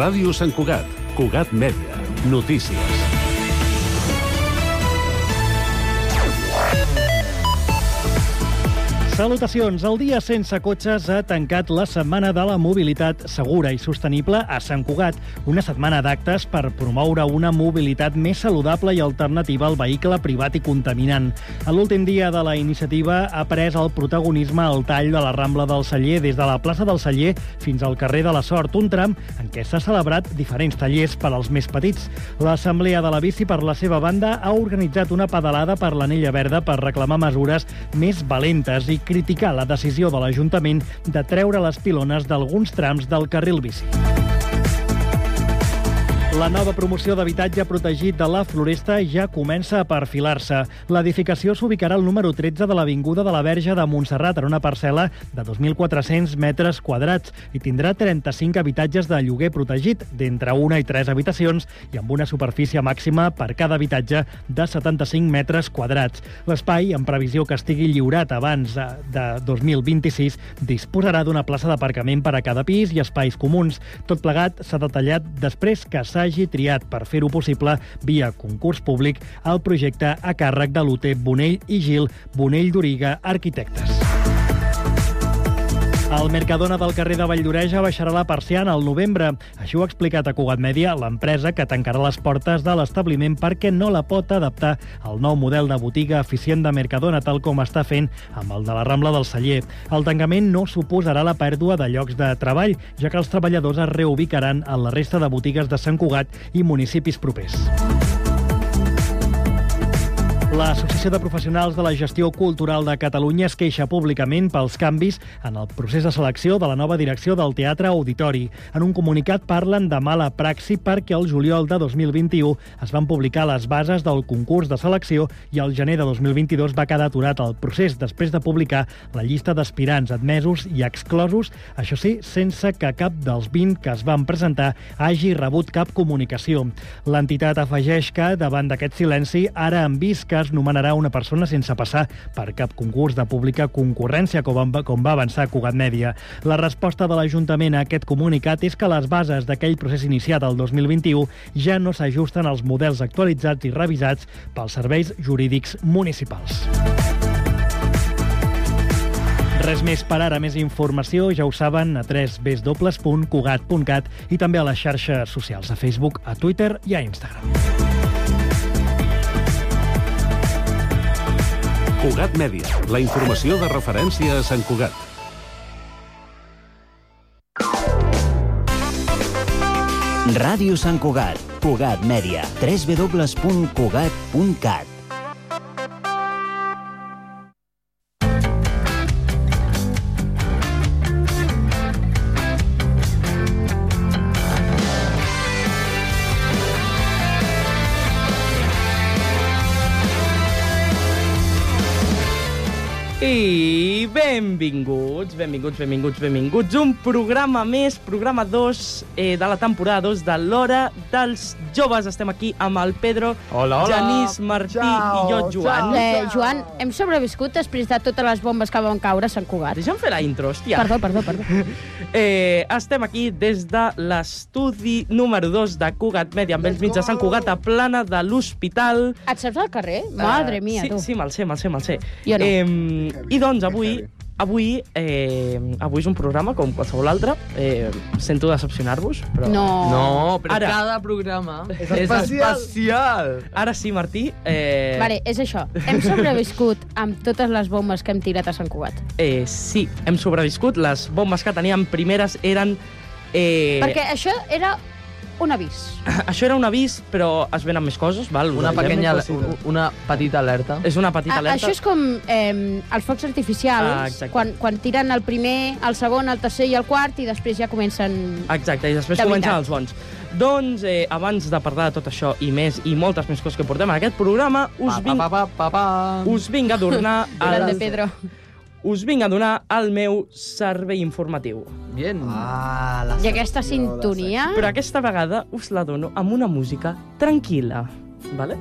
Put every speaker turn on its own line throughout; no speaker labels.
Ràdio Sant Cugat, Cugat Mèdia, notícies.
Salutacions. El dia sense cotxes ha tancat la Setmana de la Mobilitat Segura i Sostenible a Sant Cugat, una setmana d'actes per promoure una mobilitat més saludable i alternativa al vehicle privat i contaminant. A l'últim dia de la iniciativa ha pres el protagonisme al tall de la Rambla del Celler des de la plaça del Celler fins al carrer de la Sort, un tram en què s'ha celebrat diferents tallers per als més petits. L'Assemblea de la Bici, per la seva banda, ha organitzat una pedalada per l'Anella Verda per reclamar mesures més valentes i criticar la decisió de l'Ajuntament de treure les pilones d'alguns trams del carril bici. La nova promoció d'habitatge protegit de la Floresta ja comença a perfilar-se. L'edificació s'ubicarà al número 13 de l'Avinguda de la Verge de Montserrat en una parcel·la de 2.400 metres quadrats i tindrà 35 habitatges de lloguer protegit d'entre una i tres habitacions i amb una superfície màxima per cada habitatge de 75 metres quadrats. L'espai, en previsió que estigui lliurat abans de 2026, disposarà d'una plaça d'aparcament per a cada pis i espais comuns. Tot plegat s'ha detallat després que s'ha s'hagi triat per fer-ho possible via concurs públic el projecte a càrrec de l'UT Bonell i Gil, Bonell d'Origa Arquitectes. El Mercadona del carrer de Valldoreja baixarà la persiana al novembre. Així ho ha explicat a Cugat Mèdia l'empresa que tancarà les portes de l'establiment perquè no la pot adaptar al nou model de botiga eficient de Mercadona, tal com està fent amb el de la Rambla del Celler. El tancament no suposarà la pèrdua de llocs de treball, ja que els treballadors es reubicaran a la resta de botigues de Sant Cugat i municipis propers. L'Associació de Professionals de la Gestió Cultural de Catalunya es queixa públicament pels canvis en el procés de selecció de la nova direcció del Teatre Auditori. En un comunicat parlen de mala praxi perquè el juliol de 2021 es van publicar les bases del concurs de selecció i el gener de 2022 va quedar aturat el procés després de publicar la llista d'aspirants admesos i exclosos, això sí, sense que cap dels 20 que es van presentar hagi rebut cap comunicació. L'entitat afegeix que, davant d'aquest silenci, ara han vist que es nomenarà una persona sense passar per cap concurs de pública concurrència, com, com va avançar Cugat Mèdia. La resposta de l'Ajuntament a aquest comunicat és que les bases d'aquell procés iniciat el 2021 ja no s'ajusten als models actualitzats i revisats pels serveis jurídics municipals. Res més per ara, més informació, ja ho saben, a www.cugat.cat i també a les xarxes socials, a Facebook, a Twitter i a Instagram.
Cugat Mèdia, la informació de referència a Sant Cugat.
Ràdio Sant Cugat, Cugat Mèdia, www.cugat.cat.
I benvinguts, benvinguts, benvinguts, benvinguts. Un programa més, programa 2 eh, de la temporada 2 de l'Hora dels Joves. Estem aquí amb el Pedro,
Hola, hola.
Genís, Martí
Ciao,
i jo, Joan.
Eh, Joan, hem sobreviscut després de totes les bombes que van caure a Sant Cugat.
Deixa'm fer la intro, hòstia.
Perdó, perdó, perdó.
Eh, estem aquí des de l'estudi número 2 de Cugat Mèdia, amb els mig de Sant Cugat, a Plana de l'Hospital.
Et saps al carrer? Madre
Ah,
mia,
Eh, sí,
tu.
Sí, me'l sé, me'l sé, me'l sé.
Jo no.
Eh, I doncs avui... Avui, eh, avui és un programa com qualsevol altre. Eh, sento decepcionar-vos, però...
No.
No, però
Ara.
cada programa és
especial.
especial.
Ara sí, Martí. Eh,
Vale, és això. Hem sobreviscut amb totes les bombes que hem tirat a Sant Cugat.
eh, sí, hem sobreviscut. Les bombes que teníem primeres eren... Eh,
Perquè això era un avís.
Això era un avís, però es venen més coses, val?
Una,
Us ho direm.
pequeña, una petita alerta.
És una petita
A,
alerta.
Ah, això és com eh, els focs
Ah,
artificials,
exacte.
quan, quan tiren el primer, el segon, el tercer i el quart i després ja comencen...
Exacte, i després
De
comencen
veritat.
els bons. Doncs, eh, abans de parlar de tot això i més, i moltes més coses que portem en aquest programa, us vinc,
Pa, pa, pa, pa, pa.
Doncs us vinc a tornar...
El de
al,
Pedro.
us vinc a donar el meu servei informatiu.
Bien.
Ah, la
I aquesta
secció, la
sintonia...
Però aquesta vegada us la dono amb una música tranquil·la, vale?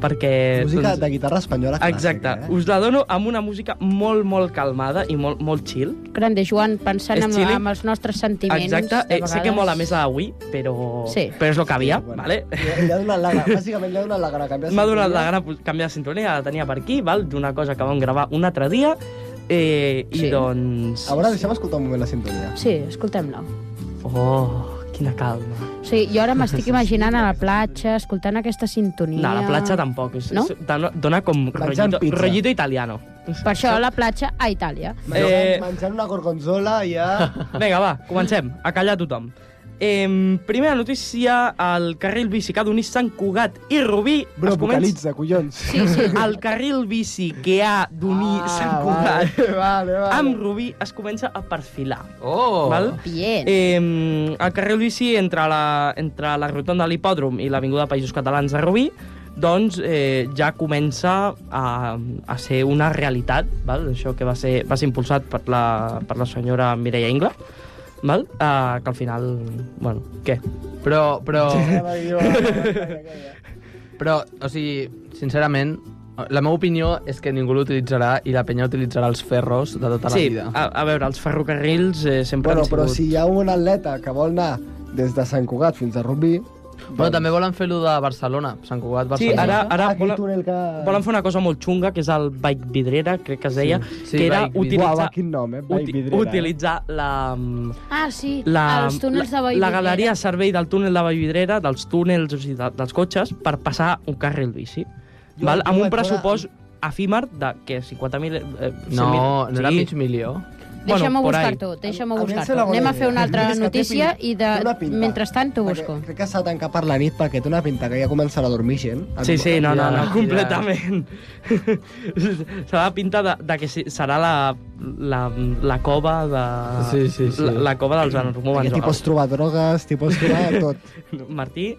perquè...
Música
doncs,
de guitarra eh? espanyola
Exacte.
clàssica,
Us la dono amb una música molt, molt calmada i molt, molt chill.
Gran de Joan, pensant
És
amb,
chilling.
amb els nostres sentiments.
Exacte.
de
Eh, sé que
vegades.
mola més la d'avui, però...
Sí.
Però és el que havia,
bueno.
vale?
Eh? Li ha donat la gana, bàsicament li ha donat la gana. canviar
M'ha donat la
sintonia.
gana pu- canviar de sintonia, la tenia per aquí, val? D'una cosa que vam gravar un altre dia. Eh, I
Sí.
doncs...
A veure, deixem escoltar un moment la sintonia.
Sí, escoltem-la.
Oh, quina calma.
O sigui, jo ara m'estic imaginant a la platja, escoltant aquesta sintonia.
No, a la platja tampoc. És,
No?
és, dona- dona com
Menjant
rollito,
pizza.
rollito italiano.
Per això a la platja a Itàlia.
Eh,
Menjant, menjant una gorgonzola i ja...
Vinga, va, comencem. A callar tothom. Eh, primera notícia, el carril bici que ha d'unir Sant Cugat i Rubí... es
Bro,
comença-
vocalitza, collons.
Sí, sí.
El carril bici que ha d'unir
Ah,
Sant Cugat
Vale, vale, vale.
amb Rubí es comença a perfilar.
Oh!
Val?
Bien.
Eh, el carril bici entre la, entre la rotonda de l'hipòdrom i l'Avinguda Països Catalans de Rubí doncs eh, ja comença a, a ser una realitat, val? això que va ser, va ser impulsat per la, per la senyora Mireia Ingla, val? Eh, que al final... Bueno, què?
Però, però,
Anava a dir, vale, vale.
però, o sigui, sincerament, la meva opinió és que ningú l'utilitzarà i la penya utilitzarà els ferros de tota
sí, Ah,
la vida.
a, a veure, els ferrocarrils eh, sempre
Bueno,
han sigut...
però si hi ha un atleta que vol anar des de Sant Cugat fins a Rubí...
Bueno, també volen fer-lo de Barcelona, Sant Cugat,
Sí,
Barcelona.
ara, ara
Aquell
volen,
túnel que...
volen fer una cosa molt xunga, que és el bike vidrera, crec que es deia,
Sí.
sí,
Sí,
que era
bike vidrera.
Uau,
utilitzar,
quin nom, eh? Uti
uti
vidrera.
utilitzar la, mm,
Ah, sí,
la,
els túnels de
la,
Vallvidrera.
la galeria de servei del túnel de Vallvidrera, dels túnels o sigui, de, dels cotxes, per passar un carril bici.
Jo-
val?
jo
Amb un
vaig veure-
pressupost efímer de que 50.000... Eh,
No,
100.000,
no era
sí.
mig milió.
Deixa'm-ho
Bueno, por ahí.
buscar-t'ho,
A
deixa'm-ho
mi em
buscar-t'ho.
sembla bona
Anem a
idea.
fer una altra
És que té
notícia
pinta.
i
Té
de...
una pinta.
mentrestant t'ho
Perquè
busco.
Crec que s'ha de tancar per la nit perquè té una pinta que ja començarà a dormir gent.
Sí, sí, no, no, no,
Ja,
completament. Serà la pinta de, de que sí, serà la, la, la cova de...
Sí, sí, sí.
La, la cova dels
Perquè
anormomans.
t'hi pots trobar drogues, t'hi pots trobar de tot.
Martí,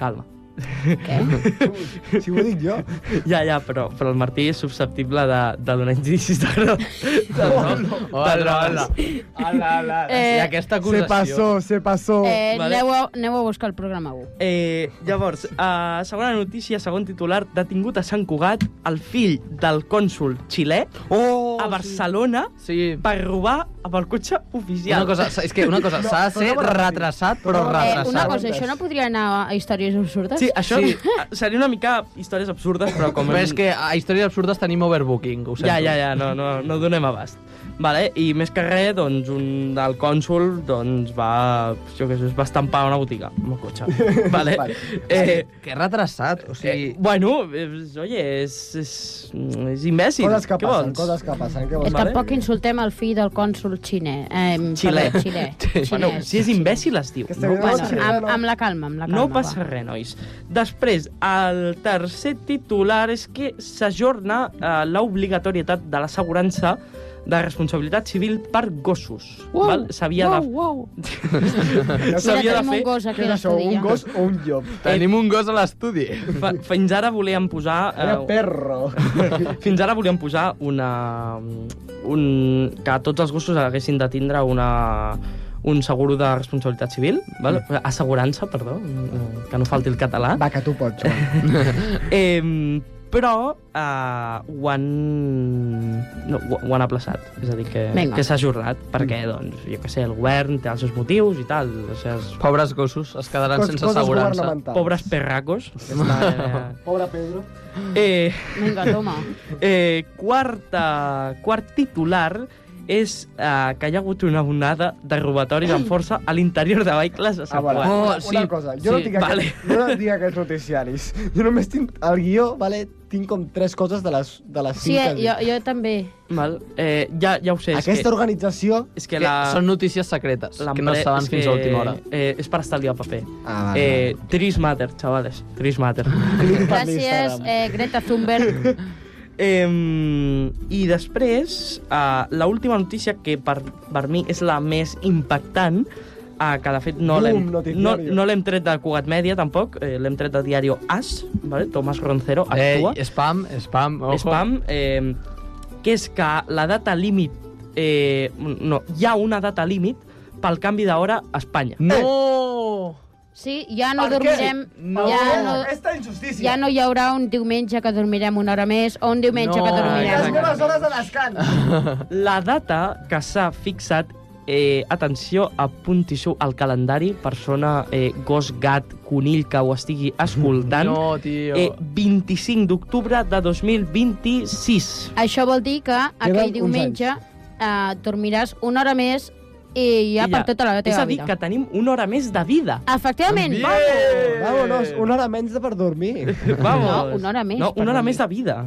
calma.
Què?
si ho dic jo.
Ja, ja, però, però el Martí és susceptible de, de donar indicis de grau.
Hola, hola. Hola, hola.
Eh,
I aquesta
Se
acusació...
passó, se passó.
Eh,
Vale.
aneu, a, aneu a buscar el programa 1.
Eh, llavors, eh, segona notícia, segon titular, detingut a Sant Cugat el fill del cònsul xilè
Oh,
a Barcelona
Sí.
per robar amb el cotxe oficial.
Una cosa, és que una cosa, s'ha de ser
torna-ho a repetir.
retrasat, però
Torna-ho a
Eh,
repetir.
retrasat.
una cosa, això no podria anar a històries absurdes?
Sí, això sí. seria una mica històries absurdes, però com...
Però és que a Històries Absurdes tenim overbooking, ho sento.
Ja, ja, ja, no, no, no donem abast. Vale, I més que res, doncs, un del cònsul doncs, va, jo què sé, es va estampar a una botiga amb el cotxe. Vale.
Vale.
eh,
Que retrasat, o sigui...
eh, bueno, és, oye, és, és, és imbècil.
Coses que
Què
passen,
vols?
coses que passen. Què
Eh,
vols?
Vale.
Tampoc insultem el fill del cònsul xiner. Eh,
Xilè.
perdó, Xilè.
Bueno,
Xilès.
si és imbècil es diu.
Que està
No
bé,
passa
no?
res.
Ah,
amb, amb la calma, amb la calma.
No passa
va.
res, nois. Després, el tercer titular és que s'ajorna eh, l'obligatorietat de l'assegurança de responsabilitat civil per gossos. val? S'havia
wow,
de...
wow.
S'havia de
tenim
fer...
un gos
Què
aquí a
és això,
l'estudi.
un gos o un llop?
Tenim un gos a l'estudi.
fa- Fins ara volíem posar...
Era
eh,
perro.
fins ara volíem posar una... Un, que tots els gossos haguessin de tindre una, un seguro de responsabilitat civil, val?
Mm.
assegurança, perdó, eh, que no falti el català.
Va, que tu pots,
Doncs
Joan.
Eh, però eh, ho, han... No, ho ho han aplaçat, és a dir, que,
Vinga.
que s'ha ajornat, perquè,
Mm.
doncs, jo que sé, el govern té els seus motius i tal, els seus
Pobres gossos, es quedaran
Cos-
sense
coses
assegurança.
governamentals.
pobres perracos.
Pobre Pedro.
eh,
Vinga, toma.
eh, quarta, quart titular és eh, que hi ha hagut una onada de robatoris amb força a l'interior de vehicles a
Ah,
Sant
vale.
Cugat.
Oh,
una, una
sí,
cosa, jo, no
sí,
tinc aquest,
vale.
jo no tinc aquests noticiaris. Jo només tinc el guió, vale, tinc com tres coses de les, de les
Sí,
cinc
eh,
que
jo,
dic.
jo també.
Val? Eh, ja, ja ho sé, és
Aquesta
que,
organització...
és que la...
Són notícies secretes, que no
l'empre-
es saben
és
fins
que,
a última hora.
Eh, és per estalviar paper.
Ah,
Eh, Tris Matter, chavales. Tris Matter.
Clic per
Gràcies,
l'Instagram.
eh, Greta Thunberg.
eh, I després, eh, l'última notícia que per, per mi és la més impactant, eh, que de fet no
Boom,
l'hem no,
noticiario.
no l'hem tret de Cugat Mèdia tampoc, eh, l'hem tret de Diario As, ¿vale? Tomás Roncero actua,
Eh, spam, spam, ojo.
spam, eh, que és que la data límit, eh, no, hi ha una data límit pel canvi d'hora a Espanya.
No!
Sí, ja no
Per què?
dormirem...
No,
ja no,
aquesta injustícia.
ja no hi haurà un diumenge que dormirem una hora més o un diumenge
No,
que
Les
dormirem...
exacte.
meves hores de descans.
La data que s'ha fixat, eh, atenció, apunti-s'ho al calendari, persona, eh, gos, gat, conill que ho estigui escoltant,
No, tio.
eh, 25 d'octubre de 2026.
Això vol dir que aquell
uns
diumenge eh, dormiràs una hora més i ja,
I
per tota la
És
teva
a dir,
vida.
que tenim una hora més de vida.
Efectivament!
Bien!
Vámonos, una hora menys de per dormir.
Vamos.
No, una hora més,
No, una hora
perdoni.
més de vida.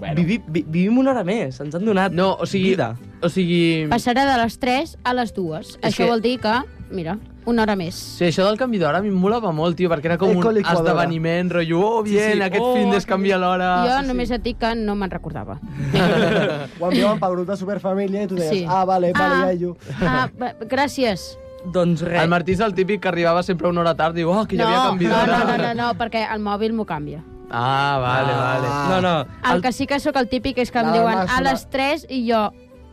Bueno. Vivi, vi, vivim una hora més, ens han donat
No, o sigui...
vida.
O sigui...
Mm. Passarà de les 3 a les 2. Això
que-
vol dir que, mira, una hora més.
Sí, això del canvi d'hora a mi em molava molt, tio, perquè era com un
Ecoliquadora.
esdeveniment, rotllo, oh, bien,
Sí, sí.
aquest
Oh,
fin d'es canvia l'hora...
jo només et dic que no me'n recordava.
Ho enviaven pel grup de Superfamília i tu deies,
Sí.
ah, vale, vale,
Ah.
ah. iaio.
Ah, va- gràcies.
Doncs res.
El Martí és el típic que arribava sempre una hora tard i diu, oh, que ja
no,
havia canvi
no,
d'hora.
no, no, no, no, perquè el mòbil m'ho canvia.
Ah, vale, vale.
No, no.
El, que sí que sóc el típic és que em
L'alarma
diuen a
sonora.
les 3 i jo...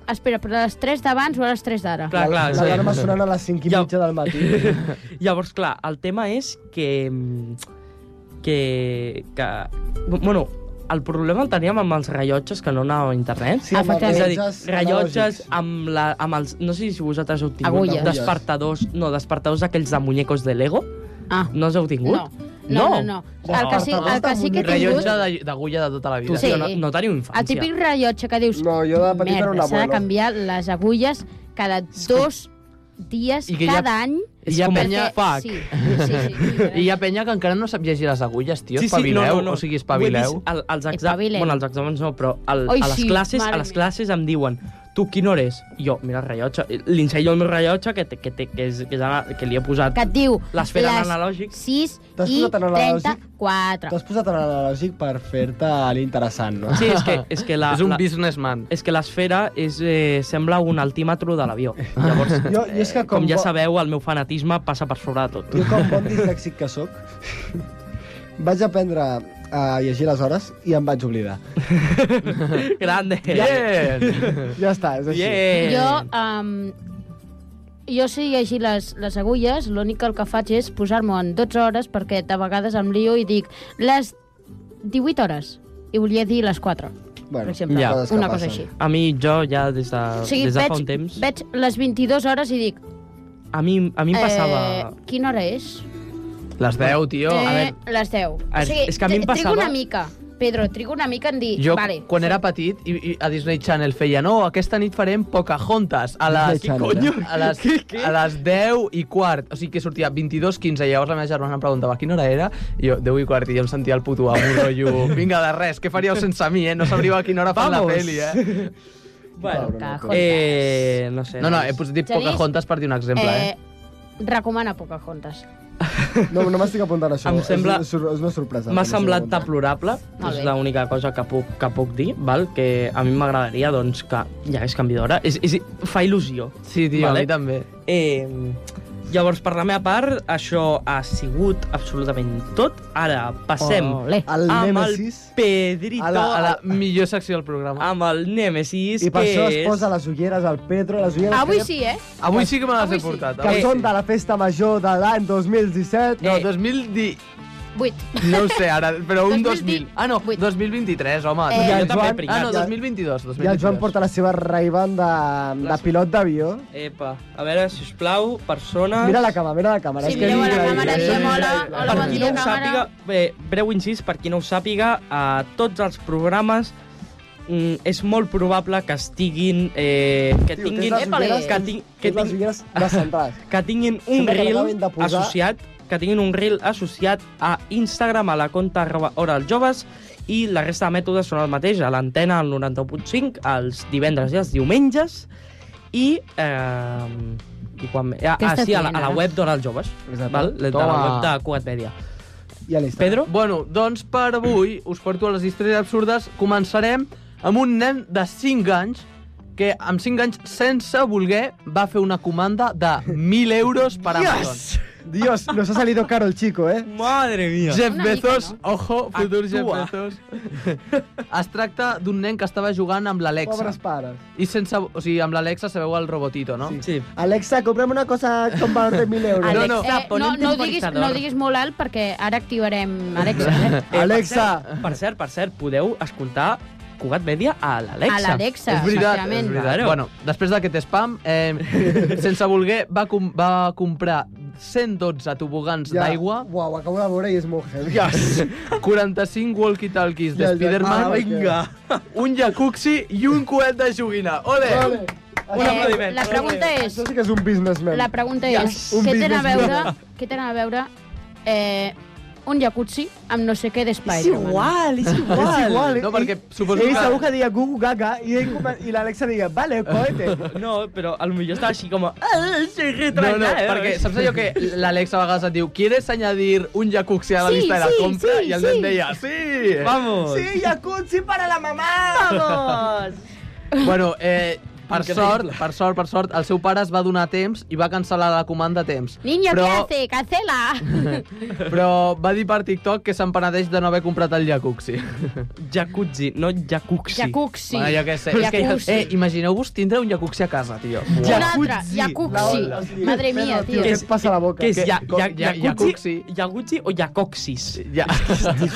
Espera, però a les 3 d'abans o a les 3 d'ara?
Clar, clar, sí.
L'alarma sonant a les 5 i
Ja.
mitja del matí.
Llavors, clar, el tema és que... mm, que, que bueno, el problema el teníem amb els rellotges que no anava a internet.
Sí, amb els
Efectivament.
és a dir,
rellotges
rellotges
analògics.
amb, la, amb els... No sé si vosaltres heu tingut
Agulles.
despertadors... No, despertadors aquells de muñecos de Lego.
Ah,
No els heu tingut?
no. No, no, no. El que sí, el que, sí que he tingut...
Rellotge de- d'agulla de tota la vida.
Hòstia,
Sí.
no, no teniu infància.
El típic rellotge que dius...
No, jo de petit era un
Merda, s'ha de
abuelo.
canviar les agulles cada dos dies
I que ja-
cada any.
I hi ha
com el
penya...
fuck.
Sí, sí, sí. sí
I hi ha penya que encara no sap llegir les agulles, tio.
Sí, sí, no,
espavileu,
no, no.
o
Ho
sigui,
he
espavileu.
vist al- als exàmens,
Espavilem.
bueno, als exàmens no, però al,
Ai,
a les
sí,
classes,
mare
a les
meva.
classes em diuen tu quina hora és? I Jo, mira el rellotge, i li ensenyo el meu rellotge que, té- que, té- que, és, que, és, ana- que li he posat
que et diu
l'esfera
les
analògic.
6
T'has
i
posat en analògic?
34.
T'has posat en analògic per fer-te l'interessant, no?
Sí, és que, és que la,
És un
la,
businessman.
és que l'esfera és, eh, sembla un altímetro de l'avió. Llavors,
Jo- jo és que
eh, com,
com
ja
bo-
sabeu, el meu fanatisme passa per sobre de tot.
Jo, com bon dislèxic que sóc, vaig aprendre a llegir les hores i em vaig oblidar.
Grande!
Bien!
Ja està, és així.
Yeah.
Jo, um, jo sé llegir les, les agulles, l'únic que el que faig és posar-m'ho en 12 hores perquè de vegades em lio i dic les 18 hores i volia dir les 4, per
Bueno,
exemple.
ja.
coses que
Una cosa
passen.
així.
A mi, jo, ja des de,
O sigui,
Ah, des de
veig,
fa un temps,
veig les 22 hores i dic...
a mi, a mi em passava...
Eh, quina hora és?
Les 10, tio.
eh,
A veure,
les 10.
a-
o sigui,
és que a mi em
tri-
passava-
Trigo una mica, Pedro, trigo una mica en dir...
jo,
vale,
quan era petit, i, i a Disney Channel feia no, aquesta nit farem Pocahontas a les,
Disney Channel, eh?
a les, a les 10 i quart. O sigui que sortia 22.15 i llavors la meva germana em preguntava quina hora era i jo 10 i quart i jo em sentia el puto amo, rotllo, vinga de res, què faríeu sense mi, eh? No sabríeu a quina hora fan la
Vamos.
peli, eh?
Bueno,
Pocahontas.
eh, no sé.
No, no, he posat dit
Genís,
Pocahontas per dir un exemple, eh?
Recomana Pocahontas.
No, no m'estic apuntant a això.
Em sembla-
És, una, és una sorpresa.
M'ha
que
semblat
m'estic apuntant.
deplorable,
Molt
és
bé.
l'única cosa que puc, que puc dir, val? que a mi m'agradaria doncs, que hi hagués canvi d'hora. És, és, fa il·lusió.
Sí, tio,
Vale.
a mi també.
Eh, llavors, per la meva part, això ha sigut absolutament tot. Ara passem
Olé.
El
amb el
Nemesis...
Pedrito,
A
A la, a la
la,
millor secció del programa.
amb el Nemesis,
I per
que
això es
és... Ah,
posa les ulleres al Pedro, les ulleres
Avui
que-
sí, eh?
Avui sí que me les
avui
he
sí.
portat.
que
avui
són
sí.
de la festa major de l'any 2017.
No,
Eh.
2010...
8.
No ho sé ara, però un 2000.
2020.
Ah, no, 2023, home.
Eh.
I
Jo
el
també,
Joan-
pringat.
Ah, no,
Ja-
2022. 2022.
I el Joan porta la seva Ray-Ban de, de
Les-
pilot d'avió.
Epa, a veure, si us plau, persones...
Mira la càmera, mira la càmera.
Si
És que
mireu a la
és
càmera,
increïble.
diem hola, hola,
per
bon
qui
dia,
no ho
càmera.
sàpiga, eh, breu incís, per qui no ho sàpiga, a tots els programes mm, és molt probable que estiguin... Eh, que
Tio,
tinguin...
tens les ulleres-
que, tin, que,
Tens les
tin,
ulleres descentrades.
que tinguin un
Sembla que
reel
l'acaben de posar.
associat que tinguin un reel associat a Instagram, a la conta arroba hora dels joves, i la resta de mètodes són el mateix, a l'antena al 91.5, els divendres i els diumenges, i... Eh, i quan, ah,
Què estàs
sí, a la, a la
dient, ara?
web d'hora dels joves,
Exacte.
val? de la
Toma.
web de Cugat Media.
I a l'Instagram.
Pedro?
Bueno, doncs per avui us porto a les històries absurdes. Començarem amb un nen de 5 anys que amb 5 anys, sense voler, va fer una comanda de 1.000 euros per Amazon.
Dios, nos ha salido caro el chico, eh?
Madre mía.
Jeff
Una mica,
Bezos,
no?
ojo, futur Jeff
Actua.
Bezos. es tracta d'un nen que estava jugant amb l'Alexa.
Pobres pares.
I sense... O sigui, amb l'Alexa sabeu el robotito, no?
Sí.
Sí. Eh,
Alexa, compra'm una cosa con valor de 1.000 euros.
Alex-
Alex,
no.
eh,
Pon
no,
un
no, diguis,
temporalitzador.
no diguis molt alt perquè ara activarem Alexa. Eh?
Alexa.
Per cert, per cert, per cert, podeu escoltar Cugat Mèdia a l'Alexa.
A l'Alexa,
és veritat, és
efectivament.
veritat.
Claro.
Bueno, després d'aquest spam, eh, sense voler, va, com, va comprar 112 tobogans d'aigua,
Uau, acabo de veure i és molt heavy.
45 walkie-talkies de
Ja, ja.
Spiderman,
Ah, vinga.
un jacuxi i un coet de joguina. Ole!
Vale.
Un aplaudiment.
Eh, la pregunta és,
Això sí que és un businessman.
Eh, la pregunta és,
Yes. Un
què tenen a
businessman.
veure, què tenen a veure eh, un jacuzzi amb no sé què d'Spider-Man?
És igual, és igual.
És igual.
No, perquè suposo
Ell
que-
segur que diga gugu gaga i, ell come- i l'Alexa diga, vale, cohete.
No, però a lo millor està així com... Ah, soy
No,
retrasado.
no, perquè saps allò que l'Alexa a vegades et diu ¿Quieres añadir un jacuzzi a la
Sí,
llista de la
sí,
compra?
sí,
I el nen
sí.
deia, Eh, sí!
Vamos.
Sí, jacuzzi para la mamá.
Vamos.
Bueno, eh, per
Increïble.
sort, per sort, per sort, el seu pare es va donar a temps i va cancel·lar la comanda a temps.
Niño,
però,
què hace? Cancela!
Però va dir per TikTok que se'n penedeix de no haver comprat el jacuzzi.
Jacuzzi, no jacuxi.
Jacuxi.
Bueno, jo què sé.
Però és que-
Jacuzzi. Eh, imagineu-vos tindre un jacuzzi a casa, tio.
Un altre,
La-
jacuzzi.
la- sí.
Madre mía,
Però,
tio.
què et passa a la boca?
Què és?
Que-
Ja,
com-
ja, ja,
ja- jacuzzi.
jacuzzi? Jacuzzi o jacoxis?
Ja.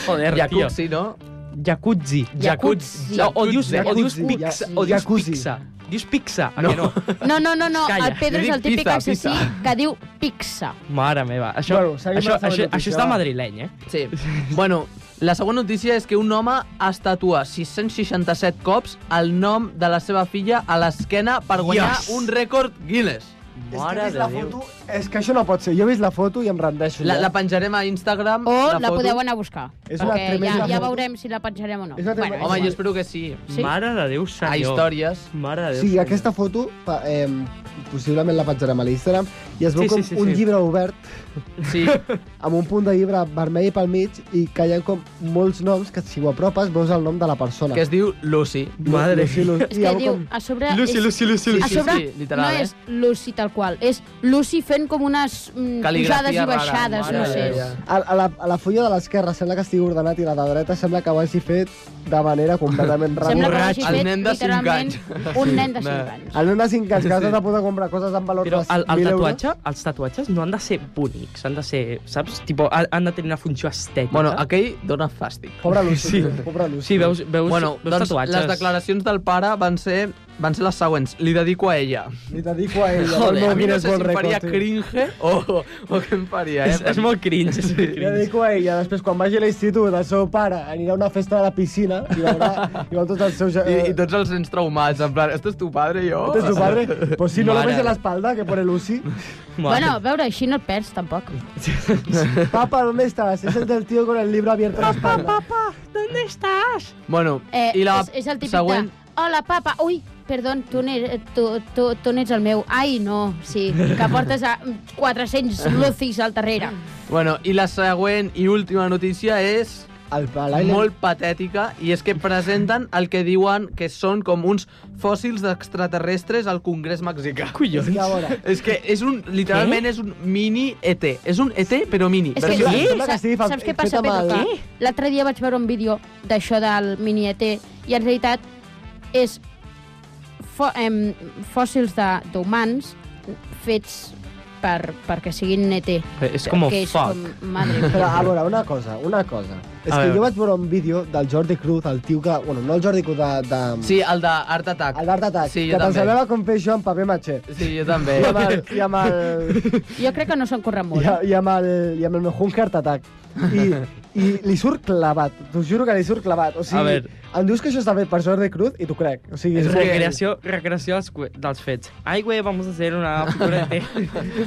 Joder, tio.
Jacuzzi, no?
Jacuzzi.
Jacuzzi.
O, o dius, o dius
Jacuzzi.
pizza.
Jacuzzi.
O dius
Jacuzzi.
pizza. Dius pizza, a que no?
No, no, no, no.
Calla.
El Pedro
Jo
és el
dic
típic
pizza,
assassí
pizza.
que diu pizza.
Mare meva. Això,
Bueno, seguim
això,
amb la
això, això
següent notícia,
està
va.
madrileny, eh?
Sí. Bueno, la següent notícia és que un home es tatua 667 cops el nom de la seva filla a l'esquena per guanyar
Yes.
un rècord Guinness.
És que he vist la foto, és que això no pot ser. Jo he vist la foto i em rendeixo.
La,
ja.
la penjarem a Instagram.
O la,
foto.
podeu anar a buscar.
És una
perquè ja,
tremenda
ja
foto.
veurem si la penjarem o no.
És una tremenda-
Home, jo espero que sí.
Sí.
Mare de Déu, senyor.
A històries.
Mare de Déu.
Sí,
senyor.
aquesta foto pa- eh, possiblement la penjarem a l'Instagram i es veu
Sí,
com
sí, sí,
un
sí.
llibre obert
Sí.
amb un punt de llibre vermell pel mig i que hi ha com molts noms que si ho apropes veus el nom de la persona.
que es diu Lucy.
Madre. Lucy, Lucy,
És que diu, a sobre...
Lucy,
és,
Lucy, Lucy,
Sí,
a
sí,
sobre
sí, literal,
no
eh?
és Lucy tal qual, és Lucy fent com unes mm,
Cal·ligrafia
pujades i
rara,
baixades,
mare
no
de
sé.
Déu.
A, a, la, a la fulla de l'esquerra sembla que estigui ordenat i la de dreta sembla que ho hagi fet de manera completament
Sembla que
rara.
ho
Borratxo.
hagi
El
fet,
nen de cinc
literalment, un nen de 5 anys.
El nen de 5 anys que has de posar a comprar coses amb valor
Però
de
el, el
1.000 euros.
tatuatge, els tatuatges no han de ser bonics, han de ser, saps? Tipo, ha- han de tenir una funció estètica.
Bueno, aquell dona fàstic.
Pobre Lucy,
Sí.
tio, pobre Lucy.
Sí, veus, veus,
Bueno,
veus
doncs
tatuatges.
les declaracions del pare van ser, van ser les següents. Li dedico a ella.
Li dedico a ell.
Joder, a mi no
quin és
sé si
bon
em faria
rècord, tio.
cringe o, o què em faria, eh?
És, és molt cringe, és molt
Li
cringe.
dedico a ella. Després, quan vagi a l'institut, el seu pare anirà a una festa de la piscina i veurà, i veurà tots els seus... eh,
I, I tots els nens traumats, en plan, ¿esto es tu padre, jo?
Este es tu padre? Pues si no lo
Mare.
ves en l'espalda, que pone Lucy.
Bueno, a veure, així no et perds, tampoc.
Papa, ¿dónde estás? Es el del tío con el libro abierto en la espalda.
¿dónde estás?
Bueno,
Eh,
i la
és, és el típic
següent...
de... Hola, papa. Ui, perdó, tu, n'er- tu, tu, tu n'ets el meu. Ai, no, sí, que portes a 400 lucis al darrere.
Bueno, i la següent i última notícia és
Al Palai.
molt patètica i és que presenten el que diuen que són com uns fòssils d'extraterrestres al Congrés mexicà.
És que a veure...
És que és un, literalment és un mini ET. És un ET, però mini.
És que,
versió
sí?
mini.
Sembla que
saps,
estigui fa-
saps què
fet
passa,
amb el-
Pedro? Que L'altre dia vaig veure un vídeo d'això del mini ET i en realitat és fò, em, fòssils de- d'humans fets per, perquè siguin ET.
És com
que és
fuck.
Com, madre
Però,
mía.
a veure, una cosa, una cosa. És
A
que
veure.
jo vaig veure un vídeo del Jordi Cruz, el tio que... Bueno, no el Jordi Cruz, de... de...
Sí, el de Art Attack.
El d'Art Attack,
Sí, jo
que
també.
t'ensenyava com fer això amb paper matxer.
Sí, jo també.
I amb el, i amb el,
Jo crec que no s'han currat molt. eh?
i,
Ja.
a- i amb el, i amb el meu Hunker Attack. I, I li surt clavat, t'ho juro que li surt clavat. O
A
sigui,
veure.
em dius que això està fet per Jordi Cruz i t'ho crec. O sigui,
És
molt-
recreació, recreació dels, cu- dels fets. Ai, güey, vamos a hacer una figura de...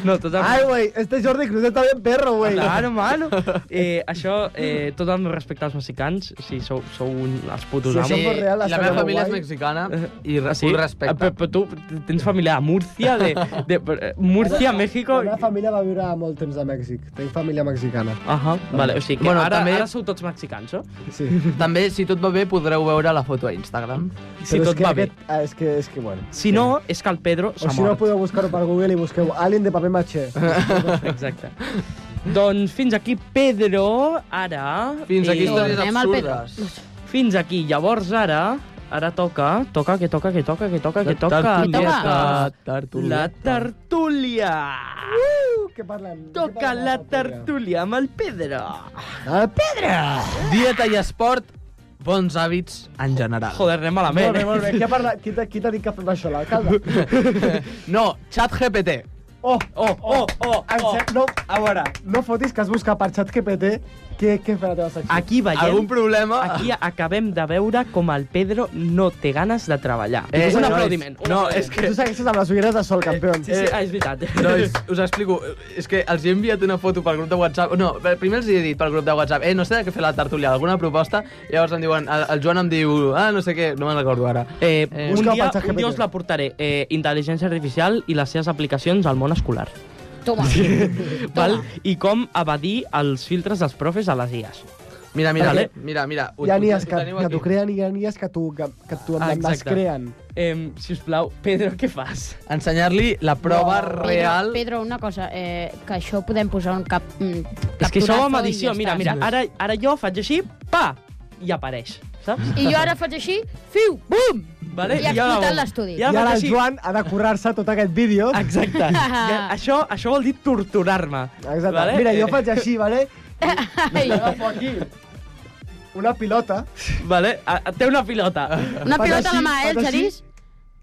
No, tot el...
Ai, güey, este Jordi Cruz está bien perro, güey.
Claro, mano. Eh, això, eh, tot el meu respecte als mexicans, si sou, sou un, els putos
Si
amos.
això fos real,
la
estaria
meva
molt
família és
guai.
mexicana
Eh,
I
ah,
re- un respecte.
Però, però tu tens família a Múrcia, de, de, de Múrcia, México...
La meva família va viure molt temps a Mèxic. Tenc família mexicana.
Ahà, vale, o sigui que bueno,
Bueno,
ara,
també-
també... ara sou tots mexicans, eh? no?
Sí.
També, si tot va bé, podreu veure la foto a Instagram.
Si
Però és
tot
que
va bé.
aquest- ah, És que, és que, bueno.
Si no, és que el Pedro
O
s'ha
si no,
mort.
podeu buscar-ho per Google i busqueu Alien de paper matxer.
Exacte. doncs fins aquí, Pedro, ara... eh,
Fins aquí
I-
històries
Tornem al Pedro.
absurdes.
Fins aquí. Llavors, ara... Ara toca, toca, que toca, que toca, que toca, que toca...
Tartuleta,
tartuleta.
La tertúlia!
Uh, Què parlem? Què
Toca
parlem
la
de Ah,
tertúlia amb el Pedro!
El Pedro!
Dieta i esport, bons hàbits en general.
Joder, anem malament. eh.
Molt bé, molt bé. Qui, ha parlat, qui, t'ha- qui t'ha dit que fem això, l'alcalde?
No, chat GPT.
Oh,
Oh, oh, oh,
en
oh.
ser- no, a veure, no fotis que has buscat per xat GPT què, què fa la teva secció.
Aquí veiem...
Algun problema?
Aquí acabem de veure com el Pedro no té ganes de treballar.
Eh,
un
nois,
aplaudiment. un
no,
aplaudiment.
és que-
Tu segueixes amb les ulleres de sol, Eh, campions.
Sí, sí, ah, és veritat.
Nois, us explico. És que els he enviat una foto pel grup de WhatsApp. No, per- primer els he dit pel grup de WhatsApp, eh, no sé de què fer la tertúlia, alguna proposta. I llavors em diuen, el, el Joan em diu, ah, no sé què, no me'n recordo ara.
Eh,
Eh,
un,
busca
dia,
patxa
un dia
GPT.
us la portaré. Eh, intel·ligència artificial i les seves aplicacions al món escolar.
Toma.
Val? I com evadir els filtres dels profes a les IAS.
Mira, mira,
Vale.
mira, mira. ho-
Hi ha
ho-
nies
ho
que,
teniu
que
aquí.
t'ho creen i hi ha nies que t'ho que, que t'ho
Ah,
ah,
exacte.
descreen.
Eh, si us plau, Pedro, què fas?
Ensenyar-li la prova
No.
Pedro,
real.
Pedro, una cosa, eh, que això ho podem posar un cap... Mm,
És que això
capturat,
ho amb
oi?
edició.
Ja
Mira,
està.
mira, ara, ara jo faig així, pa, i apareix, saps?
I jo ara faig així, fiu, bum!
Vale?
I ha
ara
explotat
ho-
l'estudi.
I
I
ara
ara
faig
el
així.
Joan ha de currar-se tot aquest vídeo.
Exacte. I això, això vol dir torturar-me.
Exacte. Vale? Mira, jo faig així, vale?
Ai,
Agafo aquí una pilota
Vale, a- a- té una pilota.
una
Fas
pilota a la
així,
mà, eh, el
fas així.
xerís?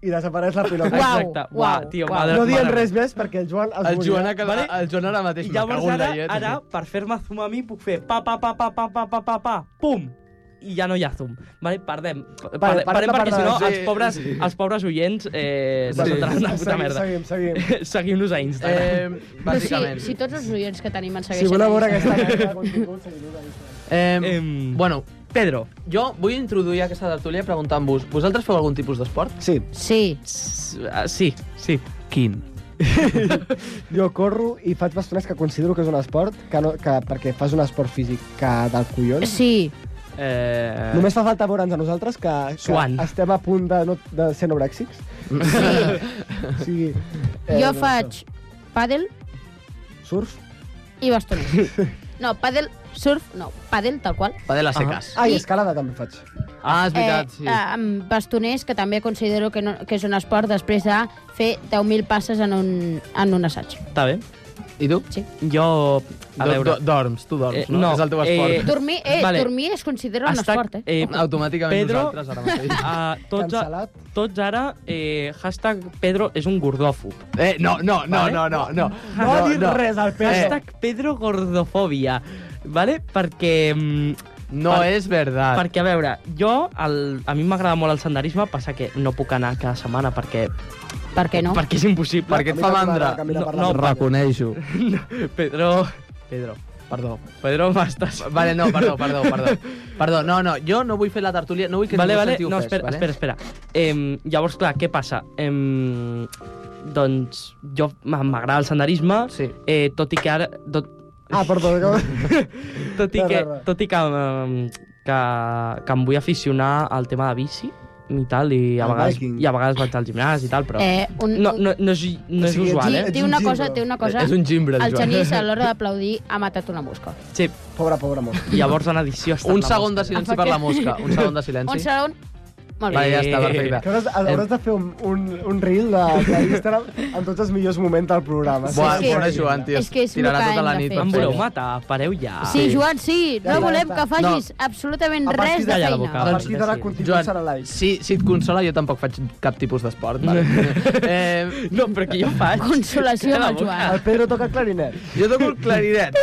i desapareix la pilota.
Uau,
Exacte. Uau,
uau,
tio,
uau.
madre-
No diem
madre
res més perquè el Joan es
El Joan,
morirà.
ha quedat, el Joan ara mateix
I
me
llavors
cago en la
ara,
llet.
ara per fer-me zoom a mi, puc fer pa, pa, pa, pa, pa, pa, pa, pa, pa, pum! I ja no hi ha zoom. Vale, perdem. Perdem,
parem
parem
de
perquè, si no,
parlar.
els pobres, els pobres oients eh, sí. s'entran una puta
Seguim,
merda.
Seguim, seguim.
Seguim-nos a Instagram.
Eh,
Però si,
bàsicament.
si tots els oients que tenim ens
Si
segueixen...
voleu veure
a
aquesta
Instagram.
mena de contingut, seguim-nos a Instagram.
Eh,
Em.
Bueno,
Pedro,
jo vull introduir aquesta tertúlia preguntant-vos, vosaltres feu algun tipus d'esport?
Sí,
Sí,
s- ah, sí, sí.
Quin?
jo corro i faig bastones que considero que és un esport, que no, que, perquè fas un esport físic que del collons.
sí.
Eh,
Només fa falta veure'ns a nosaltres que, que
Suant.
estem a punt de, no, de ser anorèxics. o sigui,
Jo
no,
faig pàdel
això. Eh, Surf?
i bastoners. No, pàdel, surf, no, pàdel, tal qual.
Padel a seques.
Ah, i
I-
escalada també faig.
Ah, és veritat, sí.
eh, amb bastoners, que també considero que, no, que és un esport després de fer 10.000 passes en un, en un assaig.
Està bé.
I tu?
Sí.
Jo... A
Do-
veure...
do- dorms, tu dorms,
Eh,
no?
no,
És el teu esport.
Dormir, eh,
Vale.
vale. dormir es considera un
Està-
esport, eh?
eh,
Automàticament
Pedro-
nosaltres ara mateix.
Uh, tots, a,
Cancel·lat.
tots ara, eh, hashtag Pedro és un gordòfob.
Eh, no, no, no,
Vale.
no, no, no.
No, ha dit res al Pedro.
Hashtag Pedro gordofòbia, ¿vale? Perquè, mm,
No
Per-
és verdad.
perquè a veure, jo, el, a mi m'agrada molt el senderisme, passa que no puc anar cada setmana perquè,
eh? Per què no?
perquè és impossible.
Perquè et fa mandra.
No, no,
No,
reconeixo.
Pedro... Pedro, perdó. Pedro, m'estàs...
Vale, no, perdó, perdó, perdó. Perdó, no, no, jo no vull fer la tertúlia, no vull que
vale,
ningú
vale.
senti
No,
ofès,
espera,
vale?
espera, espera. Eh, llavors, clar, què passa? Eh, doncs jo m- m'agrada el senderisme,
Sí.
eh, tot i que ara... Tot,
Ah, perdó. Que...
tot i
No,
que,
no, no.
tot i que, um, em- que, que em vull aficionar al tema de bici i tal, i a,
Al
vegades,
biking.
i a vegades vaig al gimnàs i tal, però...
Eh, un,
No, no, no és, no és
Sí,
usual,
Té,
ets
eh?
té
un
una
gimbre.
cosa, té una cosa.
És un gimbre, el
El
Joan.
Genís, a l'hora d'aplaudir, ha matat una mosca.
Sí,
Pobre, pobre mosca.
llavors en edició... ha estat
Un
la
segon de
mosca.
silenci per la mosca. Un segon de
Un
silenci.
segon... Molt
Vale,
bé.
ja està,
Que
perfecte.
hauràs, hauràs de fer un, un, un reel de- d'Instagram amb tots els millors moments del programa.
Buah,
sí.
pobre Joan, tio.
És que és
Tirarà
el que
tota
hem
la
de
nit
fer.
per
Em voleu
fer-ho.
matar? Pareu ja.
Sí, Joan, sí,
Ja
no
està,
volem
ja
que
està.
facis absolutament
A partir
res de
d'allà la
feina.
boca.
A partir d'ara
Sí.
continua
Joan,
serà live.
si, si et consola, jo tampoc faig cap tipus d'esport. Vale. eh,
No, però que jo faig.
Consolació amb el Joan.
El Pedro toca clarinet.
jo toco el clarinet.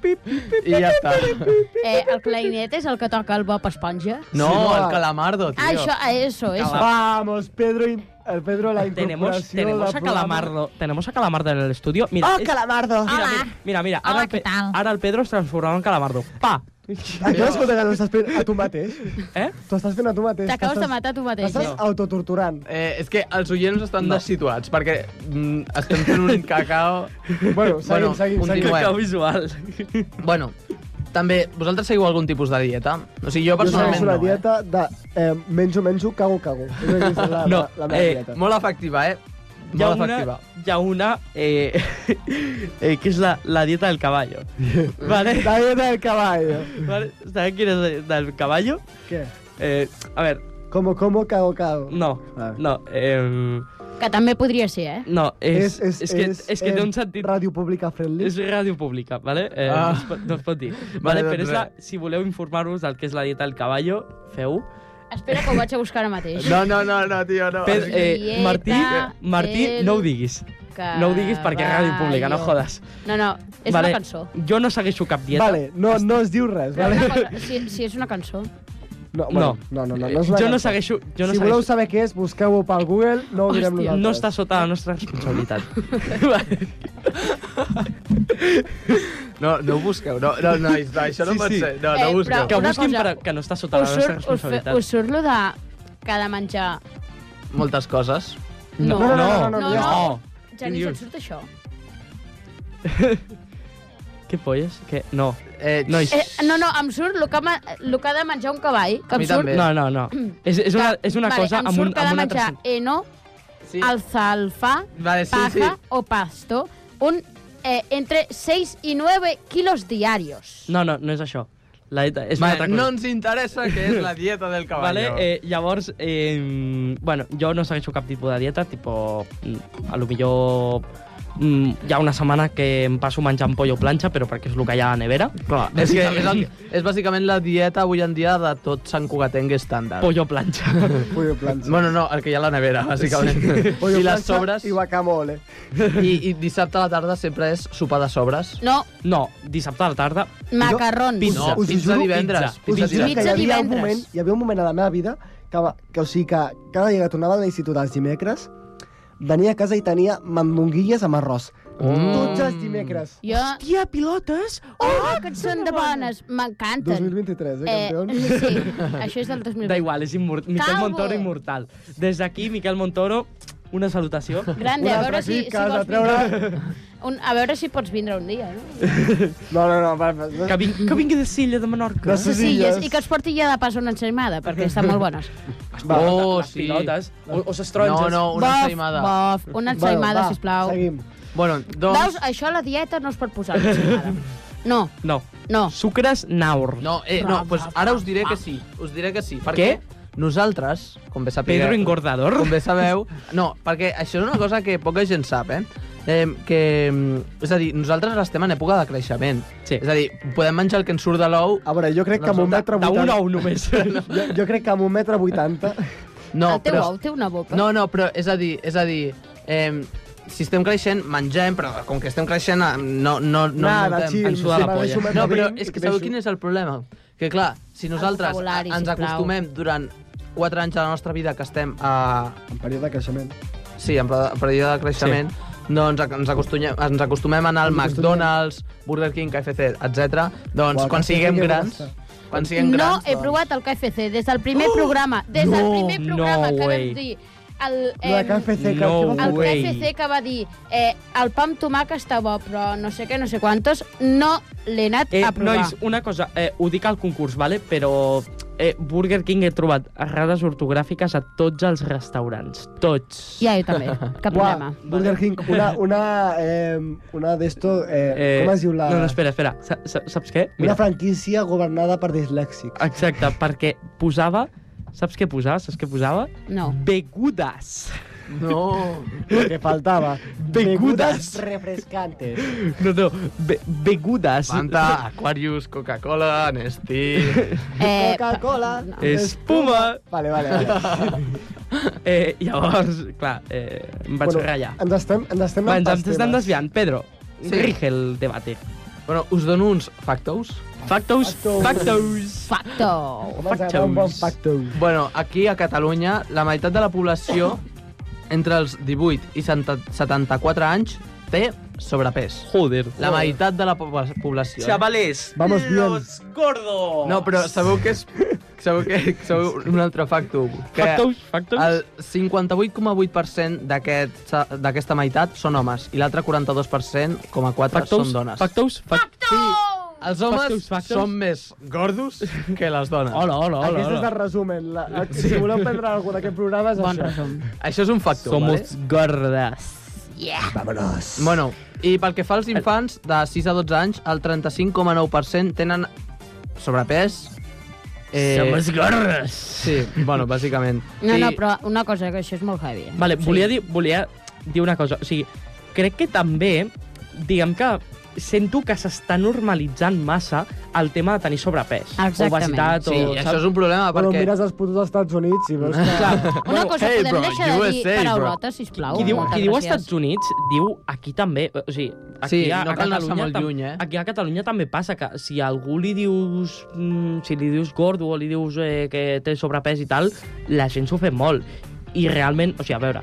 I ja està.
Eh, el clarinet és el que toca el Bob Esponja?
No,
Sí, no,
el
el-
calamardo, tio.
Ah, això, ah, eso, eso.
Vamos, Pedro, i- el Pedro la
Tenemos,
incorporació...
tenemos
del
a
programa.
Calamardo. Tenemos a Calamardo en el estudio. Mira,
Oh,
es-
Calamardo!
Mira, mira, mira, mira. Ara,
Hola,
el Pe-
què tal?
ara el Pedro es transformarà en Calamardo. Pa,
Acabes contagiant, estàs fent a tu mateix.
Eh?
T'ho estàs fent a tu mateix.
T'acabes de
t'estàs-
matar tu mateix.
T'estàs
eh?
autotorturant.
Eh, és que els oients estan
No.
no. dessituats, perquè mm, estem fent un cacao...
Bueno, seguim,
Bueno,
seguim, seguim.
continuem.
Cacau visual.
Bueno, també, vosaltres seguiu algun tipus de dieta? O sigui, jo
Jo segueixo
personalment
la
no, eh?
dieta de eh, menjo, menjo, cago, cago. És aquesta, la,
No,
la, la meva
eh,
dieta.
molt efectiva, eh?
Hi ha
Molt
una,
efectiva.
hi ha una eh, eh, que és la, la dieta del caballo. vale?
La dieta del caballo.
vale? ¿Sabes quién es de- del caballo?
Què?
Eh, a ver,
Como, como, cago, cago. Ah.
no,
Vale.
no, eh,
Que també podria ser, eh?
no, és, és, és, que, és, que té un sentit...
Ràdio Pública Friendly.
És ràdio pública, vale? Eh,
Ah.
no, es pot, no es pot dir. Vale,
Vale, doncs
però és la,
res.
si voleu informar-vos del que és la dieta del caballo, feu-ho.
Espera que ho vaig a buscar ara mateix.
No, no, no, no, tio, no.
Per,
És-
eh, Martí,
Dieta
Martí,
del
no ho diguis. No ho diguis perquè és ràdio pública, no
Caballo.
jodes.
No, no, és
vale.
una cançó.
Jo no segueixo cap dieta.
Vale, no, no es diu res,
Però
vale?
una cosa, si, si és una cançó.
No.
No, bueno, no, no, no,
Eh,
no és la
jo no
meva.
segueixo... Jo no
si voleu
segueixo...
saber què és, busqueu-ho pel Google, no ho direm
Hòstia,
nosaltres.
no està sota la nostra responsabilitat. vale.
No, no ho busqueu, no, no, no, això no
Sí,
pot
sí.
ser. No,
Eh,
no ho busqueu.
però-
Que
Una
busquin
cosa.
per, que no està sota la
Us
nostra
surt, us, fe-
responsabilitat.
us surt lo de que ha de menjar...
Moltes coses.
No,
No, no,
no,
no, no, no,
no.
ja està.
No.
Genís,
dius?
et surt això?
Què polles? Que... No.
Eh,
Nois.
Eh, no, no, em surt el que, ha ma- lo que ha de menjar un cavall. Que
A
em
mi
surt...
també.
No, no, no. És, és una, és una
vale,
cosa
em
amb,
surt
un,
que ha
amb
de
una
menjar
altra...
eno,
Sí.
alfalfa,
Vale, sí,
paja
sí.
o pasto. Un, eh, entre 6 y 9 kilos diarios.
No, no, no és això. La dieta és una
Vale,
altra cosa.
no ens interessa què és la dieta del
Vale,
caballo.
eh, llavors, eh, bueno, jo no segueixo cap tipus de dieta, tipo, mm, a lo millor mm, hi ha una setmana que em passo menjant pollo planxa, però perquè és el que hi ha a la nevera.
Clar, és, que és, el, és bàsicament la dieta avui en dia de tot Sant Cugatenc estàndard.
Pollo planxa.
Pollo planxa.
Bueno, no, el que hi ha a la nevera, bàsicament.
Pollo
I les
planxa
sobres...
I guacamole.
I, I dissabte a la tarda sempre és sopar de sobres.
No,
No, dissabte a la tarda,
macarrons.
Pizza.
No,
us ho
pizza
juro,
divendres.
pizza.
Us
Pizza
ho juro
divendres.
que hi havia, un
divendres.
moment, hi havia un moment a la meva vida que, va- que o sigui, que cada dia que tornava de l'institut els dimecres, venia a casa i tenia mandonguilles amb arròs.
Oh.
Mm.
Tots els dimecres.
Jo... Hòstia, pilotes! Oh, que són de bones! M'encanten.
2023, eh, campions?
Eh, sí, això és del 2020.
da igual, és immor Miquel
Calvo.
Montoro immortal. Des d'aquí, Miquel Montoro, una salutació.
Grande, a
Un altre
veure si,
clip
si
que has de
vols vindre. Un, a veure si pots vindre un dia, eh? no?
No, no, no, va, va, no.
Que, vin que vingui de Silla, de Menorca.
No
Sí,
sé
sí,
si
i,
ja
és,
és-
i que es porti ja de pas una ensaïmada, perquè estan molt bones.
Va,
Oh,
les Ah,
sí.
pilotes, o, o ses
No,
taronges.
no, una ensaïmada.
Bof, bof, una ensaïmada,
va,
sisplau.
Seguim.
Bueno,
Veus,
doncs...
això a la dieta no es pot posar l'ensaïmada. No,
No.
no.
Sucres naur.
No, eh, no, pues ara us diré que sí. Us diré que sí.
Què?
Perquè nosaltres, com bé sapigueu...
Pedro Engordador.
Com bé sabeu... No, perquè això és una cosa que poca gent sap, eh? Eh, que, mm, és a dir, nosaltres ara estem en època de creixement.
Sí.
És a dir, podem menjar el que ens surt de l'ou...
A veure, jo crec que amb un metre
D'un
vuitanta...
ou només.
Jo, jo crec que amb un metre vuitanta...
No,
El teu ou té una boca.
No, no, però és a dir, és a dir, eh, si estem creixent, mengem, però com que estem creixent, eh, no, no, no
Nada,
muntem.
chill,
ens suda
si
la
m'agreixo
polla.
un
No,
metre
però
vint,
és que
creixo.
sabeu quin és el problema? Que clar, si nosaltres
vocabulari,
ens
sisplau.
acostumem durant 4 anys de la nostra vida que estem a...
En període de creixement.
Sí, en pe- període de creixement, sí. doncs ac- ens acostumem, ens acostumem a anar al
Ens acostumem.
McDonald's, Burger King, KFC, etc. Doncs
Uau,
quan
KFC,
siguem
que
grans...
bonica.
Quan siguem
no eh,
grans... doncs.
he provat el KFC des del primer programa. Des del
no,
primer programa
no
que
way.
vam dir... El,
Lo de
em,
KFC,
no
que- que...
el
way.
KFC que va dir eh, el pa amb tomàquet està bo, però no sé què, no sé quantos, no l'he anat
Eh,
a provar.
nois, una cosa, eh, ho dic al concurs, vale? però eh, Burger King he trobat errades ortogràfiques a tots els restaurants. Tots.
Ja, jo també, cap
Uah,
problema.
Burger King, una, una, eh, una d'esto... Eh,
Eh,
com es diu la...
No, no, espera, espera. Sa- sa- Saps què?
Una
Mira,
franquícia governada per dislèxics.
exacte, perquè posava... Saps què posava? Saps què posava?
No.
Begudes.
No...
Lo que faltava.
Begudes.
refrescantes.
No, no, be begudes.
Fanta, Aquarius, Coca-Cola, Nestí...
Eh,
Coca-Cola.
pa-
Espuma.
Vale, vale. vale.
Eh, llavors, clar, eh, em vaig bueno, ratllar.
Ens estem, ens estem
Va,
anant
ens
pels
ens estem
temes.
desviant. Pedro,
Sí.
sí. rige el debate.
Bueno, us dono uns factos.
Factos,
Factos.
factos.
Facto.
Home, ens agrada un bon pacto.
Bueno, aquí a Catalunya, la meitat de la població entre els 18 i 70 74 anys té sobrepès.
Joder.
La meitat de la po- població. eh?
Chavales,
Vamos bien.
los gordos.
No, però sabeu que és... Sabeu que sabeu un altre factum. Que
Factos, factos.
el 58,8% d'aquest- d'aquesta meitat són homes i l'altre 42,4%
Factos,
són dones.
factos, factos.
Els homes
Factos, factos.
són més gordos que les dones.
Hola, hola, hola.
Aquest és
hola.
este el resumen. La, la, si voleu prendre alguna cosa d'aquest programa és
Bon
això.
resum.
Això és un factor, vale?
Somos gordas.
Bueno, i pel que fa als infants de 6 a 12 anys, el 35,9% tenen sobrepès...
Eh, Somos gordas.
Sí, bueno, bàsicament.
No,
I-
no, però una cosa, que això és molt heavy. eh?
Vale, volia, dir, volia dir una cosa. O sigui, crec que també, diguem que sento que s'està normalitzant massa el tema de tenir sobrepès.
Exactament.
Obesitat
Sí,
o...
això és un problema
Bueno,
perquè...
mires els putos dels Estats Units i veus que...
Una cosa,
hey,
podem
bro,
deixar de dir
USA, bro.
paraulotes, sisplau?
Qui diu,
Moltes
qui diu als
gràcies.
Estats Units, diu aquí també. eh, O sigui, aquí
Sí,
a,
no
a
cal anar-se
Catalunya...
molt
tam-
lluny, eh?
Aquí a Catalunya també passa que si a algú li dius... Mm, si li dius gordo o li dius eh, que té sobrepès i tal, la gent s'ho fet molt. I realment, o sigui, a veure,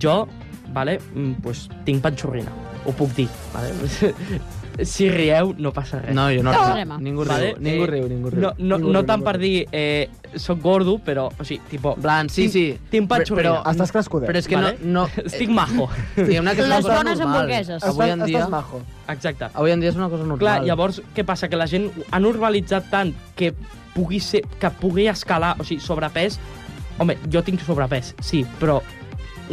jo, vale, mm, pues, tinc panxorrina, ho puc dir, vale? si rieu, no passa res.
No, jo no,
No.
no. Ningú riu,
Vale,
ningú
eh,
riu, ningú riu.
No, no,
Ningú
no
riu,
tant
ningú
per dir eh, soc gordo, però, o sigui, tipo,
En plan, sí,
tinc-
sí.
Tinc
Però-
panxorrina.
però-
Estàs crescudet.
Però és que
Ah, Vale.
no... no
Estic
Eh.
majo.
Diguem-ne que és una
Les
cosa
bones
normal.
hamburgueses.
Avui en
estàs,
dia...
estàs majo.
Exacte.
Avui en dia és una cosa normal.
Clar, llavors, què passa? Que la gent ha normalitzat tant que pugui ser, que pugui escalar, o sigui, sobrepès... Home, jo tinc sobrepès, sí, però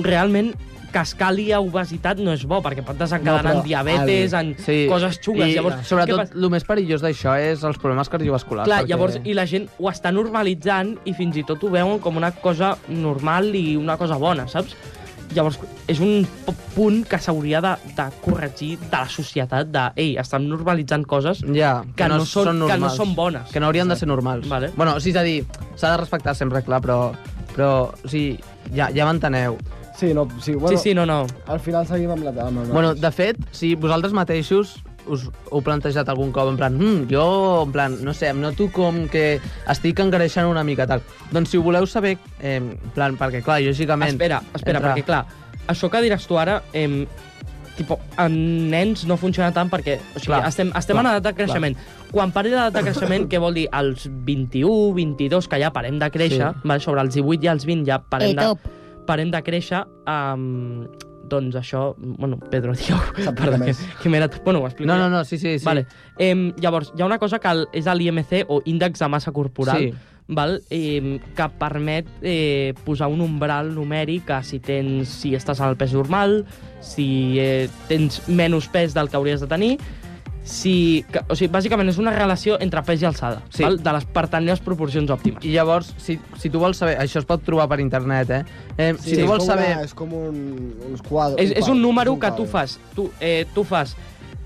realment que escali a obesitat no és bo, perquè pot desencadenar
però,
en diabetes,
Avi,
en coses xungues.
I,
llavors, què
sobretot,
passa?
el més perillós d'això és els problemes cardiovasculars.
Clar, llavors, i la gent ho està normalitzant i fins i tot ho veuen com una cosa normal i una cosa bona, saps? Llavors, és un p- punt que s'hauria de, de corregir de la societat, de, ei, estan normalitzant coses
Ja,
que, no, són, que no
normals.
són bones.
Que no haurien de ser normals.
Vale.
Bueno, o sigui, és a dir, s'ha de respectar sempre, clar, però... Però, o sigui, ja, ja m'enteneu.
Sí, no, sí, bueno,
sí, sí, no, no.
al final seguim amb la... Amb el
Bueno, de fet, si vosaltres mateixos us heu plantejat algun cop, en plan, mm, jo, en plan, no sé, em noto com que estic engreixant una mica, tal. Doncs si ho voleu saber, eh, en plan, perquè, clar, lògicament...
Espera, espera,
Entra.
perquè, clar, això que diràs tu ara, em, tipo, en nens no funciona tant perquè o sigui,
Clar,
estem, estem
clar,
en edat de creixement. Quan parli d'edat de creixement, què vol dir? Als 21, 22, que ja parem de créixer,
Sí.
sí. vale? sobre els 18 i els 20 ja parem,
Eh, top.
de, parem de créixer, um, doncs això... Bueno, Pedro, tio, perdó, que,
més.
que m'he anat... Bueno, ho explico.
No,
ja.
no, no, sí, sí, sí.
Vale. Em, llavors, hi ha una cosa que el- és l'IMC, o índex de massa corporal,
Sí.
val? Em, que permet eh, posar un umbral numèric a si, tens, si estàs al pes normal, si eh, tens menys pes del que hauries de tenir, si, que, o sigui, bàsicament és una relació entre pes i alçada,
Sí.
sí. val? de les pertanyes proporcions òptimes.
I llavors, si, si tu vols saber... Això es pot trobar per internet, eh? eh sí, si tu
és
vols
com una-
saber...
És com un, uns quadres.
és, és un número que
quadre.
tu fas. Tu, eh, tu fas...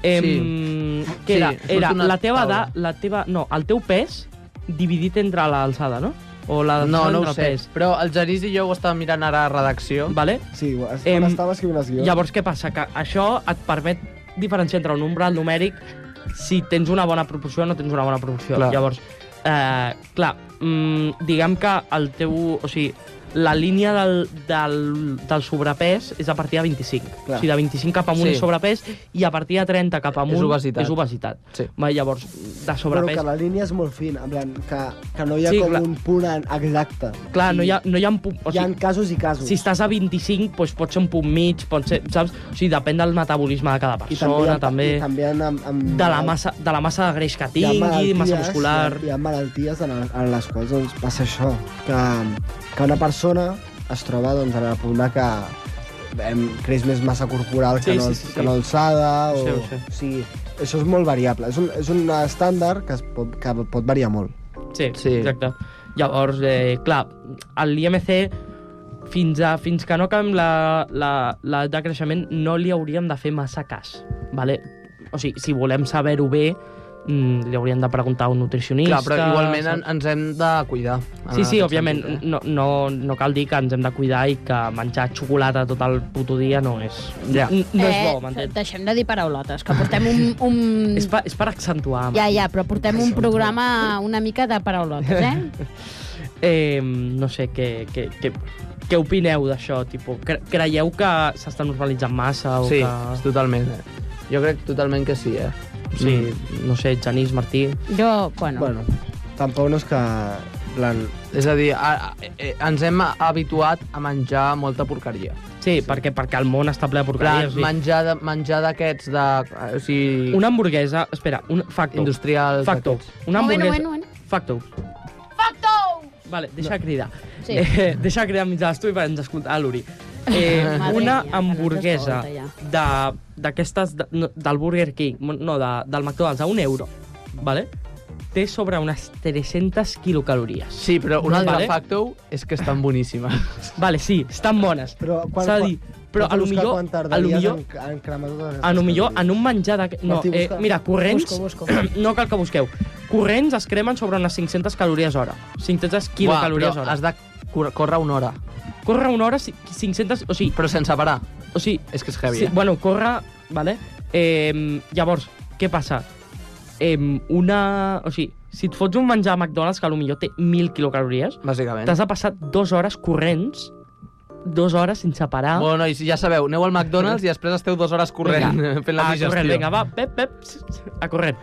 Em, sí.
Sí,
Que era,
surt
era
una
la teva
taula.
edat, la teva... No, el teu pes dividit entre l'alçada, no? O la
No,
d'alçada
no
entre
ho
el
sé.
Pes.
Però el Genís i jo ho estàvem mirant ara a redacció.
Vale?
Sí, quan
Em,
em... estava escrivint els guions.
Llavors, què passa? Que això et permet diferenciar entre un umbral numèric si tens una bona proporció o no tens una bona proporció.
Clar.
Llavors, eh, clar, mm, diguem que el teu... O sigui, la línia del, del, del sobrepès és a partir de 25.
Clar.
O sigui, de 25 cap amunt
Sí.
sí. és sobrepès i a partir de 30 cap amunt
obesitat.
És obesitat.
Sí.
Va, llavors, de
Però
sobrepès...
que la línia és molt fina, en plan, que, que no hi ha
Sí,
sí, com
clar.
un punt en- exacte.
Clar, no hi ha... No hi ha, pu- o
Hi ha
sigui,
casos i casos.
si estàs a 25, doncs pot ser un punt mig, pot ser, saps? O sigui, depèn del metabolisme de cada
I
persona,
I també en, en, en
de la, massa, de la massa de greix que
hi ha
tingui,
malalties,
massa muscular...
Hi ha, hi ha malalties en, en les quals doncs, passa això, que, que una persona es troba doncs, en el punt de que em, creix més massa corporal
Sí,
que, no,
sí, sí, sí.
que no alçada,
Ho
o,
sé, ho sé.
o sigui, això és molt variable. És un, és un estàndard que, es pot, que pot variar molt.
Sí,
Sí.
sí, exacte. Llavors, eh, clar, l'IMC fins, a, fins que no acabem la, la, la de creixement no li hauríem de fer massa cas, vale? O sigui, si volem saber-ho bé, mm, li hauríem de preguntar a un nutricionista...
Clar, però igualment en,
saps?
ens hem de cuidar. en
Sí, sí,
aquest
òbviament,
sentit, eh?
no, no, no cal dir que ens hem de cuidar i que menjar xocolata tot el puto dia no és...
Ja.
n- No és bo,
Eh,
m'entens?
Deixem de dir paraulotes, que portem un... un...
És, per, és per accentuar.
Ja, ja, però portem un programa una mica de paraulotes, eh?
Eh, no sé, què, què, què, Què opineu d'això? Tipo, cre creieu que s'està normalitzant massa? O
Sí,
Que...
totalment. Eh? Jo crec totalment que sí, eh?
Sí, no sé, Janís, Martí...
Jo, bueno, bueno.
Bueno, tampoc no és que... en Plan,
És a dir, a, a, eh, ens hem habituat a menjar molta porqueria.
Sí, sí. Perquè, perquè el món està ple de
Clar,
porqueries. Man...
menjar de- menjar d'aquests de... eh, O sigui,
Una hamburguesa... Espera, un facto.
industrial...
Facto. Una
Moment,
hamburguesa...
moment, moment.
Facto. Facto! Vale, deixa no. cridar.
Sí.
Eh, deixa cridar mig de l'estudi per ens escoltar l'Uri. Eh, una
Madre mía, que no
hamburguesa
t'escolta
de- d'aquestes de, no, del Burger King, no, de, del McDonald's, a un euro, vale? té sobre unes 300 quilocalories.
Sí, però un altre
Vale.
facto és que estan boníssimes.
Vale, sí, estan bones.
Però quan-
S'ha de dir, però a lo
busca
millor,
quan
a lo
tardaries
millor,
en, en cremar totes les
a lo millor en
calories.
un menjar de... No,
Martí,
eh,
busca.
mira, corrents...
Busco, busco.
No cal que busqueu. Corrents es cremen sobre unes 500 calories hora. 500 quilocalories
Uah, però
hora.
has de cor- córrer una hora,
Corre una hora, ci- 500... O sigui,
però sense parar.
o sigui
És que és heavy,
sí,
eh?
bueno, corre... Vale? Eh, llavors, què passa? Eh, una... O sigui, si et fots un menjar a McDonald's que potser té 1.000 quilocalories,
Bàsicament.
t'has de passar dues hores corrents, dues hores sense
Ah.
parar...
Bueno, nois, ja sabeu, aneu al McDonald's i després esteu dues hores corrent
Vinga,
fent la
a
Ah,
digestió.
correr, vinga, va, pep, pep, ps, ps, a correr.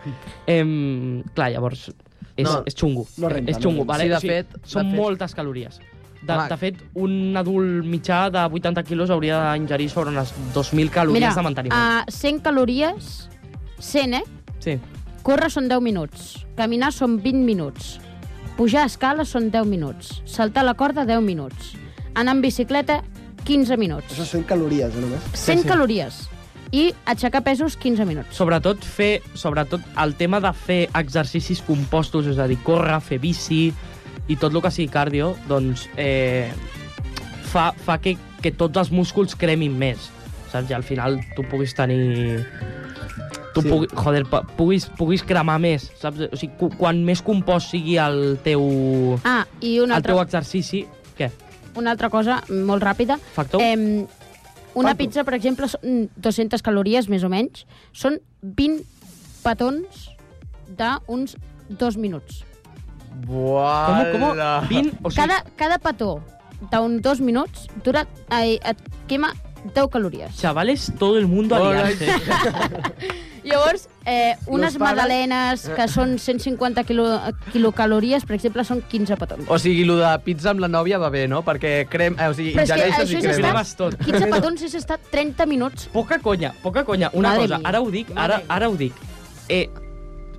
Em, clar, llavors, és,
No,
és xungo.
no renta,
és
no
xungo,
renta.
vale?
Sí, de
O sigui,
fet- de
Són
fet-
moltes calories. De,
Home.
de fet, un adult mitjà de 80 quilos hauria d'ingerir sobre unes 2.000 calories
Mira,
de manteniment.
a 100 calories, 100, eh?
Sí.
Córrer són 10 minuts, caminar són 20 minuts, pujar escales són 10 minuts, saltar la corda 10 minuts, anar en bicicleta 15 minuts,
Això són calories, eh, només.
100
sí.
calories i aixecar pesos 15 minuts.
Sobretot fer, sobretot el tema de fer exercicis compostos, és a dir, córrer, fer bici i tot el que sigui cardio, doncs eh, fa, fa que, que tots els músculs cremin més. Saps? I al final tu puguis tenir... Tu
Sí.
sí. pugui, joder, pa- puguis, puguis cremar més, saps? O sigui, cu- quan més compost sigui el teu,
Ah, i una
el teu
altra,
exercici... Què?
una altra cosa molt ràpida.
Factor? Eh,
Em, una
Quanto?
pizza, per exemple, són 200 calories, més o menys. Són 20 petons d'uns 2 minuts.
Buala.
com, com? 20... O sigui,
Cada, cada petó d'un 2 minuts dura, eh, et quema 10 calories.
Chavales, todo el mundo a
Hola,
liarse.
Llavors, eh, unes
pares-
magdalenes que són 150 quilo, quilocalories, per exemple, són 15 petons.
O sigui, lo de pizza amb la nòvia va bé, no? Perquè crem... Eh, o sigui,
Però és que
ingereixes
això
i
és
cremes.
estar-
Cremes tot.
15 petons és estar 30 minuts.
poca conya, poca conya. Una
Madre
cosa,
mia.
ara ho dic,
Madre
ara,
mia.
ara ho dic. Eh,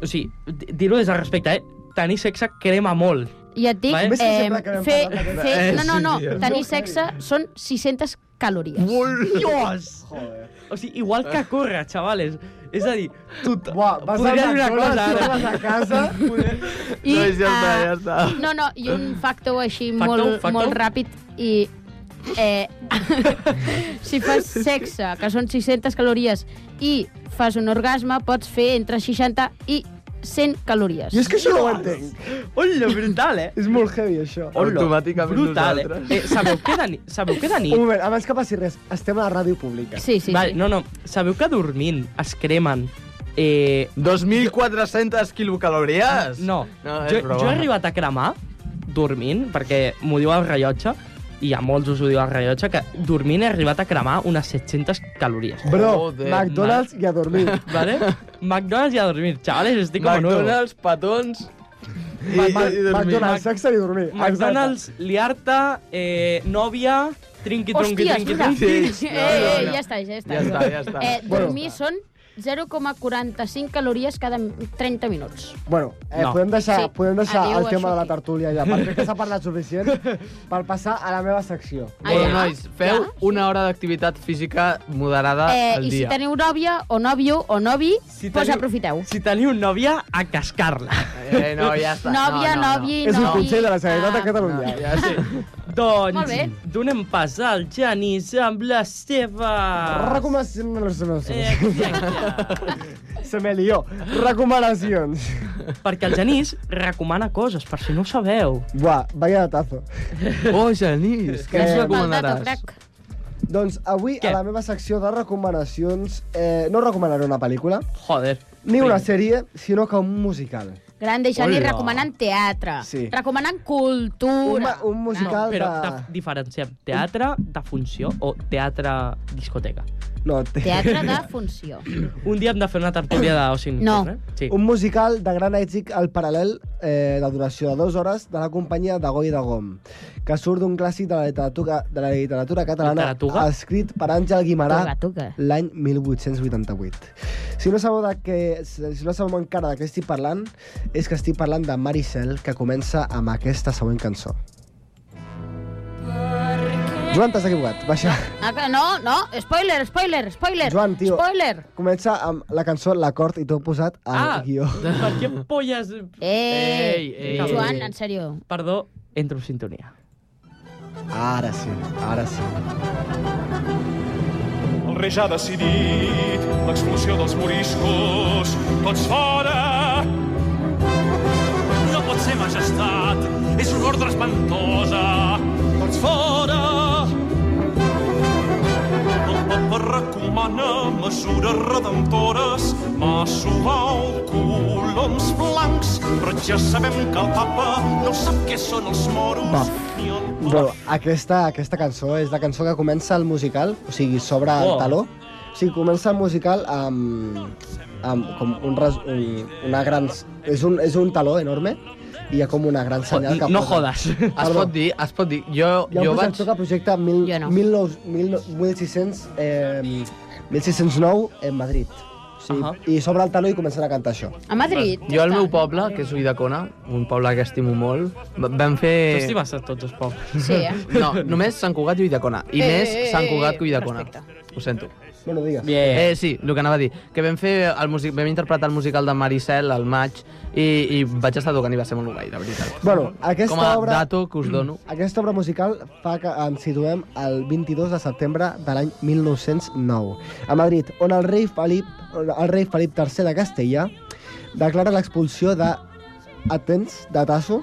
o sigui, di- dir-ho des de respecte, eh? Tenir sexe crema molt.
I et dic,
Vale.
Ves que
eh,
sempre acabem
fer,
parlant d'aquest-
fer...
Eh,
No, no, no,
sí, tio.
tenir sexe són 600 calories.
Dios!
Joder.
O sigui, igual que córrer, xavales. És a dir, tu... t-
Buah, vas
podria
anar
dir una cosa, ara.
a casa...
I,
Nois, ja està,
eh,
ja està.
No, no, i un factor així
Factor,
molt,
factor?
molt ràpid i... Eh, si fas sexe, que són 600 calories, i fas un orgasme, pots fer entre 60 i 100 calories.
Jo és que això no ho entenc.
Hola, brutal, eh?
És molt heavy, això.
Hola,
Automàticament
brutal, eh?
nosaltres.
eh? Sabeu què de nit? Sabeu què de nit?
Un moment, abans que passi res, estem a la ràdio pública.
Sí, sí,
vale,
sí.
No, no, sabeu que dormint es cremen eh,
2.400 quilocalories?
Ah, No,
No,
no
és
jo,
broma.
jo he arribat a cremar dormint, perquè m'ho diu el rellotge, i a molts us ho diu el rellotge, que dormint he arribat a cremar unes 700 calories.
Bro,
Joder,
McDonald's i a dormir.
Vale? McDonald's i a dormir, chavales, estic com nuevo.
McDonald's, petons... I,
Ma-
i,
ma-
i dormir.
McDonald's, sexe i dormir. Exacte.
McDonald's, liarta, eh, nòvia, trinqui, tronqui,
Hòsties,
trinqui,
mira!
tronqui.
Sí,
eh,
no, no,
eh,
no.
ja està, ja està.
Ja està, ja està.
Eh,
Bueno.
dormir són 0,45 calories cada 30 minuts.
Bueno, eh,
No.
podem deixar,
Sí.
sí. podem deixar
Adéu,
el tema de la
Aixuti.
tertúlia ja, perquè crec que s'ha parlat suficient per passar a la meva secció.
Ah,
Bueno,
ja?
nois, feu
Ja?
una hora d'activitat física moderada
Eh,
al
I si
dia.
teniu nòvia o nòvio o novi,
Si
doncs
teniu-
aprofiteu.
Si teniu nòvia, a cascar-la.
Eh, no, ja està.
Nòvia,
no, no,
novi,
És un
novi,
consell de la Generalitat
ah,
de Catalunya.
No, ja sí.
Molt
doncs,
bé.
donem pas al Genís amb la seva...
Recomanacions.
Eh, Exacte.
Se me lió. Recomanacions.
perquè el Genís recomana coses, per si no ho sabeu.
Buah, vaya datazo.
Oh, Genís, què ens
Gràcies
Pel
pel
dato,
recomanaràs?
crac.
Doncs avui
Què?
a la meva secció de recomanacions eh, no recomanaré una pel·lícula,
Joder.
ni una sèrie, sinó que un musical.
Gran deixar-li
Hola.
recomanant teatre,
Sí.
recomanant
Un,
cultura.
ma- un
No,
musical
però
de...
de... diferenciem teatre de funció o teatre discoteca.
No, té-
Teatre de funció.
Un dia hem de fer una tertúlia d'oci
No.
nocturn, eh? Sí.
Un musical de gran èxit al paral·lel eh, de duració de dues hores de la companyia de Goi de Gom, que surt d'un clàssic de la literatura, de la literatura catalana
Literatuga?
escrit per Àngel Guimarà
Tuga, tuga.
l'any 1888. Si no sabeu de què, si no sabeu encara de què estic parlant, és que estic parlant de Maricel, que comença amb aquesta següent cançó. Joan, t'has equivocat. Baixa.
Ah, que no, no, spoiler, spoiler, spoiler.
Joan, tio.
Spoiler.
Comença amb la cançó, l'acord, i t'ho he posat al
Ah,
guió.
per què polles...
Ei,
Ei, ei,
Joan,
ei.
en sèrio.
Perdó, entro en sintonia.
Ara sí, ara sí.
El rei ja ha decidit l'expulsió dels moriscos. Tots fora! No pot ser majestat, és una ordre espantosa. Tots fora! El papa recomana mesures redemptores, massuau, coloms blancs, però ja sabem que el papa no sap què són els moros.
Va.
Ni el
Bueno, aquesta, aquesta cançó és la cançó que comença el musical, o sigui, sobre oh.
Oh.
el taló. O sigui, comença el musical amb, amb com un, res, un, una gran... És un, és un taló enorme i hi ha com una gran senyal que
no
posa-
jodas.
Es pot dir, es pot dir. Jo,
Hi ha
jo
un
vaig...
projector que projecta mil,
Jo no.
19, 1600, eh, 1609 en Madrid. O sigui,
Ahà.
I sobre el taló i comencen a cantar això.
A Madrid.
Jo al meu
Tant.
poble, que és Uidacona, un poble que estimo molt, va- vam fer...
T'estimes a tots els pobles.
Sí, eh?
No, només Sant Cugat i Uidacona. I
Eh,
més
eh, eh,
Sant Cugat que Uidacona.
respecte.
Ho sento.
Bueno, digues.
Eh, sí, el que anava a dir. Que vam fer el music... vam interpretar el musical de Maricel al maig i, i vaig estar tocant i va ser molt guai, de veritat.
Bueno, aquesta
Com a
obra...
dato que us dono.
Mm. Aquesta obra musical fa que ens situem el 22 de setembre de l'any 1909, a Madrid, on el rei Felip, el rei Felip III de Castella declara l'expulsió de Athens, de Tasso,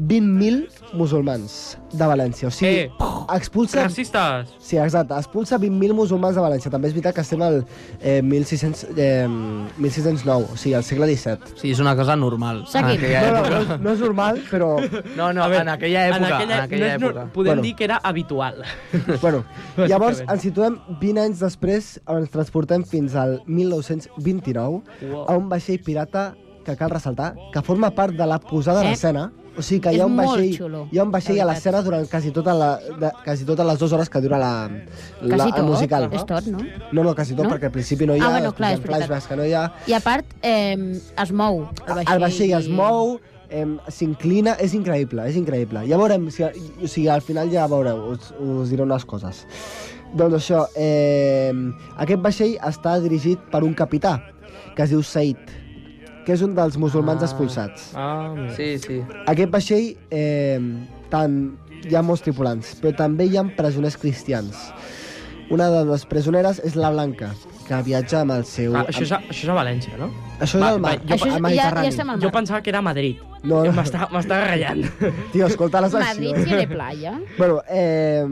20.000 musulmans de València. O sigui,
Eh,
expulsa...
Racistes.
Sí, exacte. Expulsa 20.000 musulmans de València. També és veritat que estem al eh, 1600, eh, 1609, o sigui, al segle Eh, XVII.
Sí, és una cosa normal.
Seguim.
En aquella
No, no,
època.
no, és- no és normal, però...
No, no,
A veure,
en aquella època. En
no
aquella,
és nor-
època.
Podem
Bueno.
dir que era habitual.
Doncs Bueno, llavors
Bàsicament.
ens situem 20 anys després, on ens transportem fins al 1929,
Wow.
a un vaixell pirata que cal ressaltar, que forma part de la posada
Eh?
eh? l'escena. O sigui que hi
És
ha un
molt
vaixell,
xulo,
hi ha un vaixell
la
a
veritat.
l'escena durant quasi, tota la, de, quasi totes les dues hores que dura la, la,
Quasi
el
tot.
musical.
És tot, no?
No, no, quasi tot,
No?
perquè al principi no hi ha,
Ah, bueno, clar,
després
és
hi ha
veritat.
flashbacks que no hi ha...
I a part, eh, es mou el vaixell.
El vaixell es mou, em, s'inclina, és increïble, és increïble. Ja veurem, si, o sigui, al final ja veureu, us, us diré unes coses. Doncs això, eh, aquest vaixell està dirigit per un capità, que es diu Said, que és un dels musulmans
Ah.
expulsats.
Ah,
Sí, sí.
Aquest vaixell, eh, tant, hi ha molts tripulants, però també hi ha presoners cristians. Una de les presoneres és la Blanca, que viatja amb el seu...
Ah, això, és a, això és a València, no?
això és
va-
el
va,
mar,
Jo, això,
al
és- ja, ja
Mediterrani.
estem al
Jo
mar.
pensava que era a Madrid.
No, no.
M'està m'està ratllant.
Tio, escolta la secció.
Madrid tiene playa.
Bueno, eh,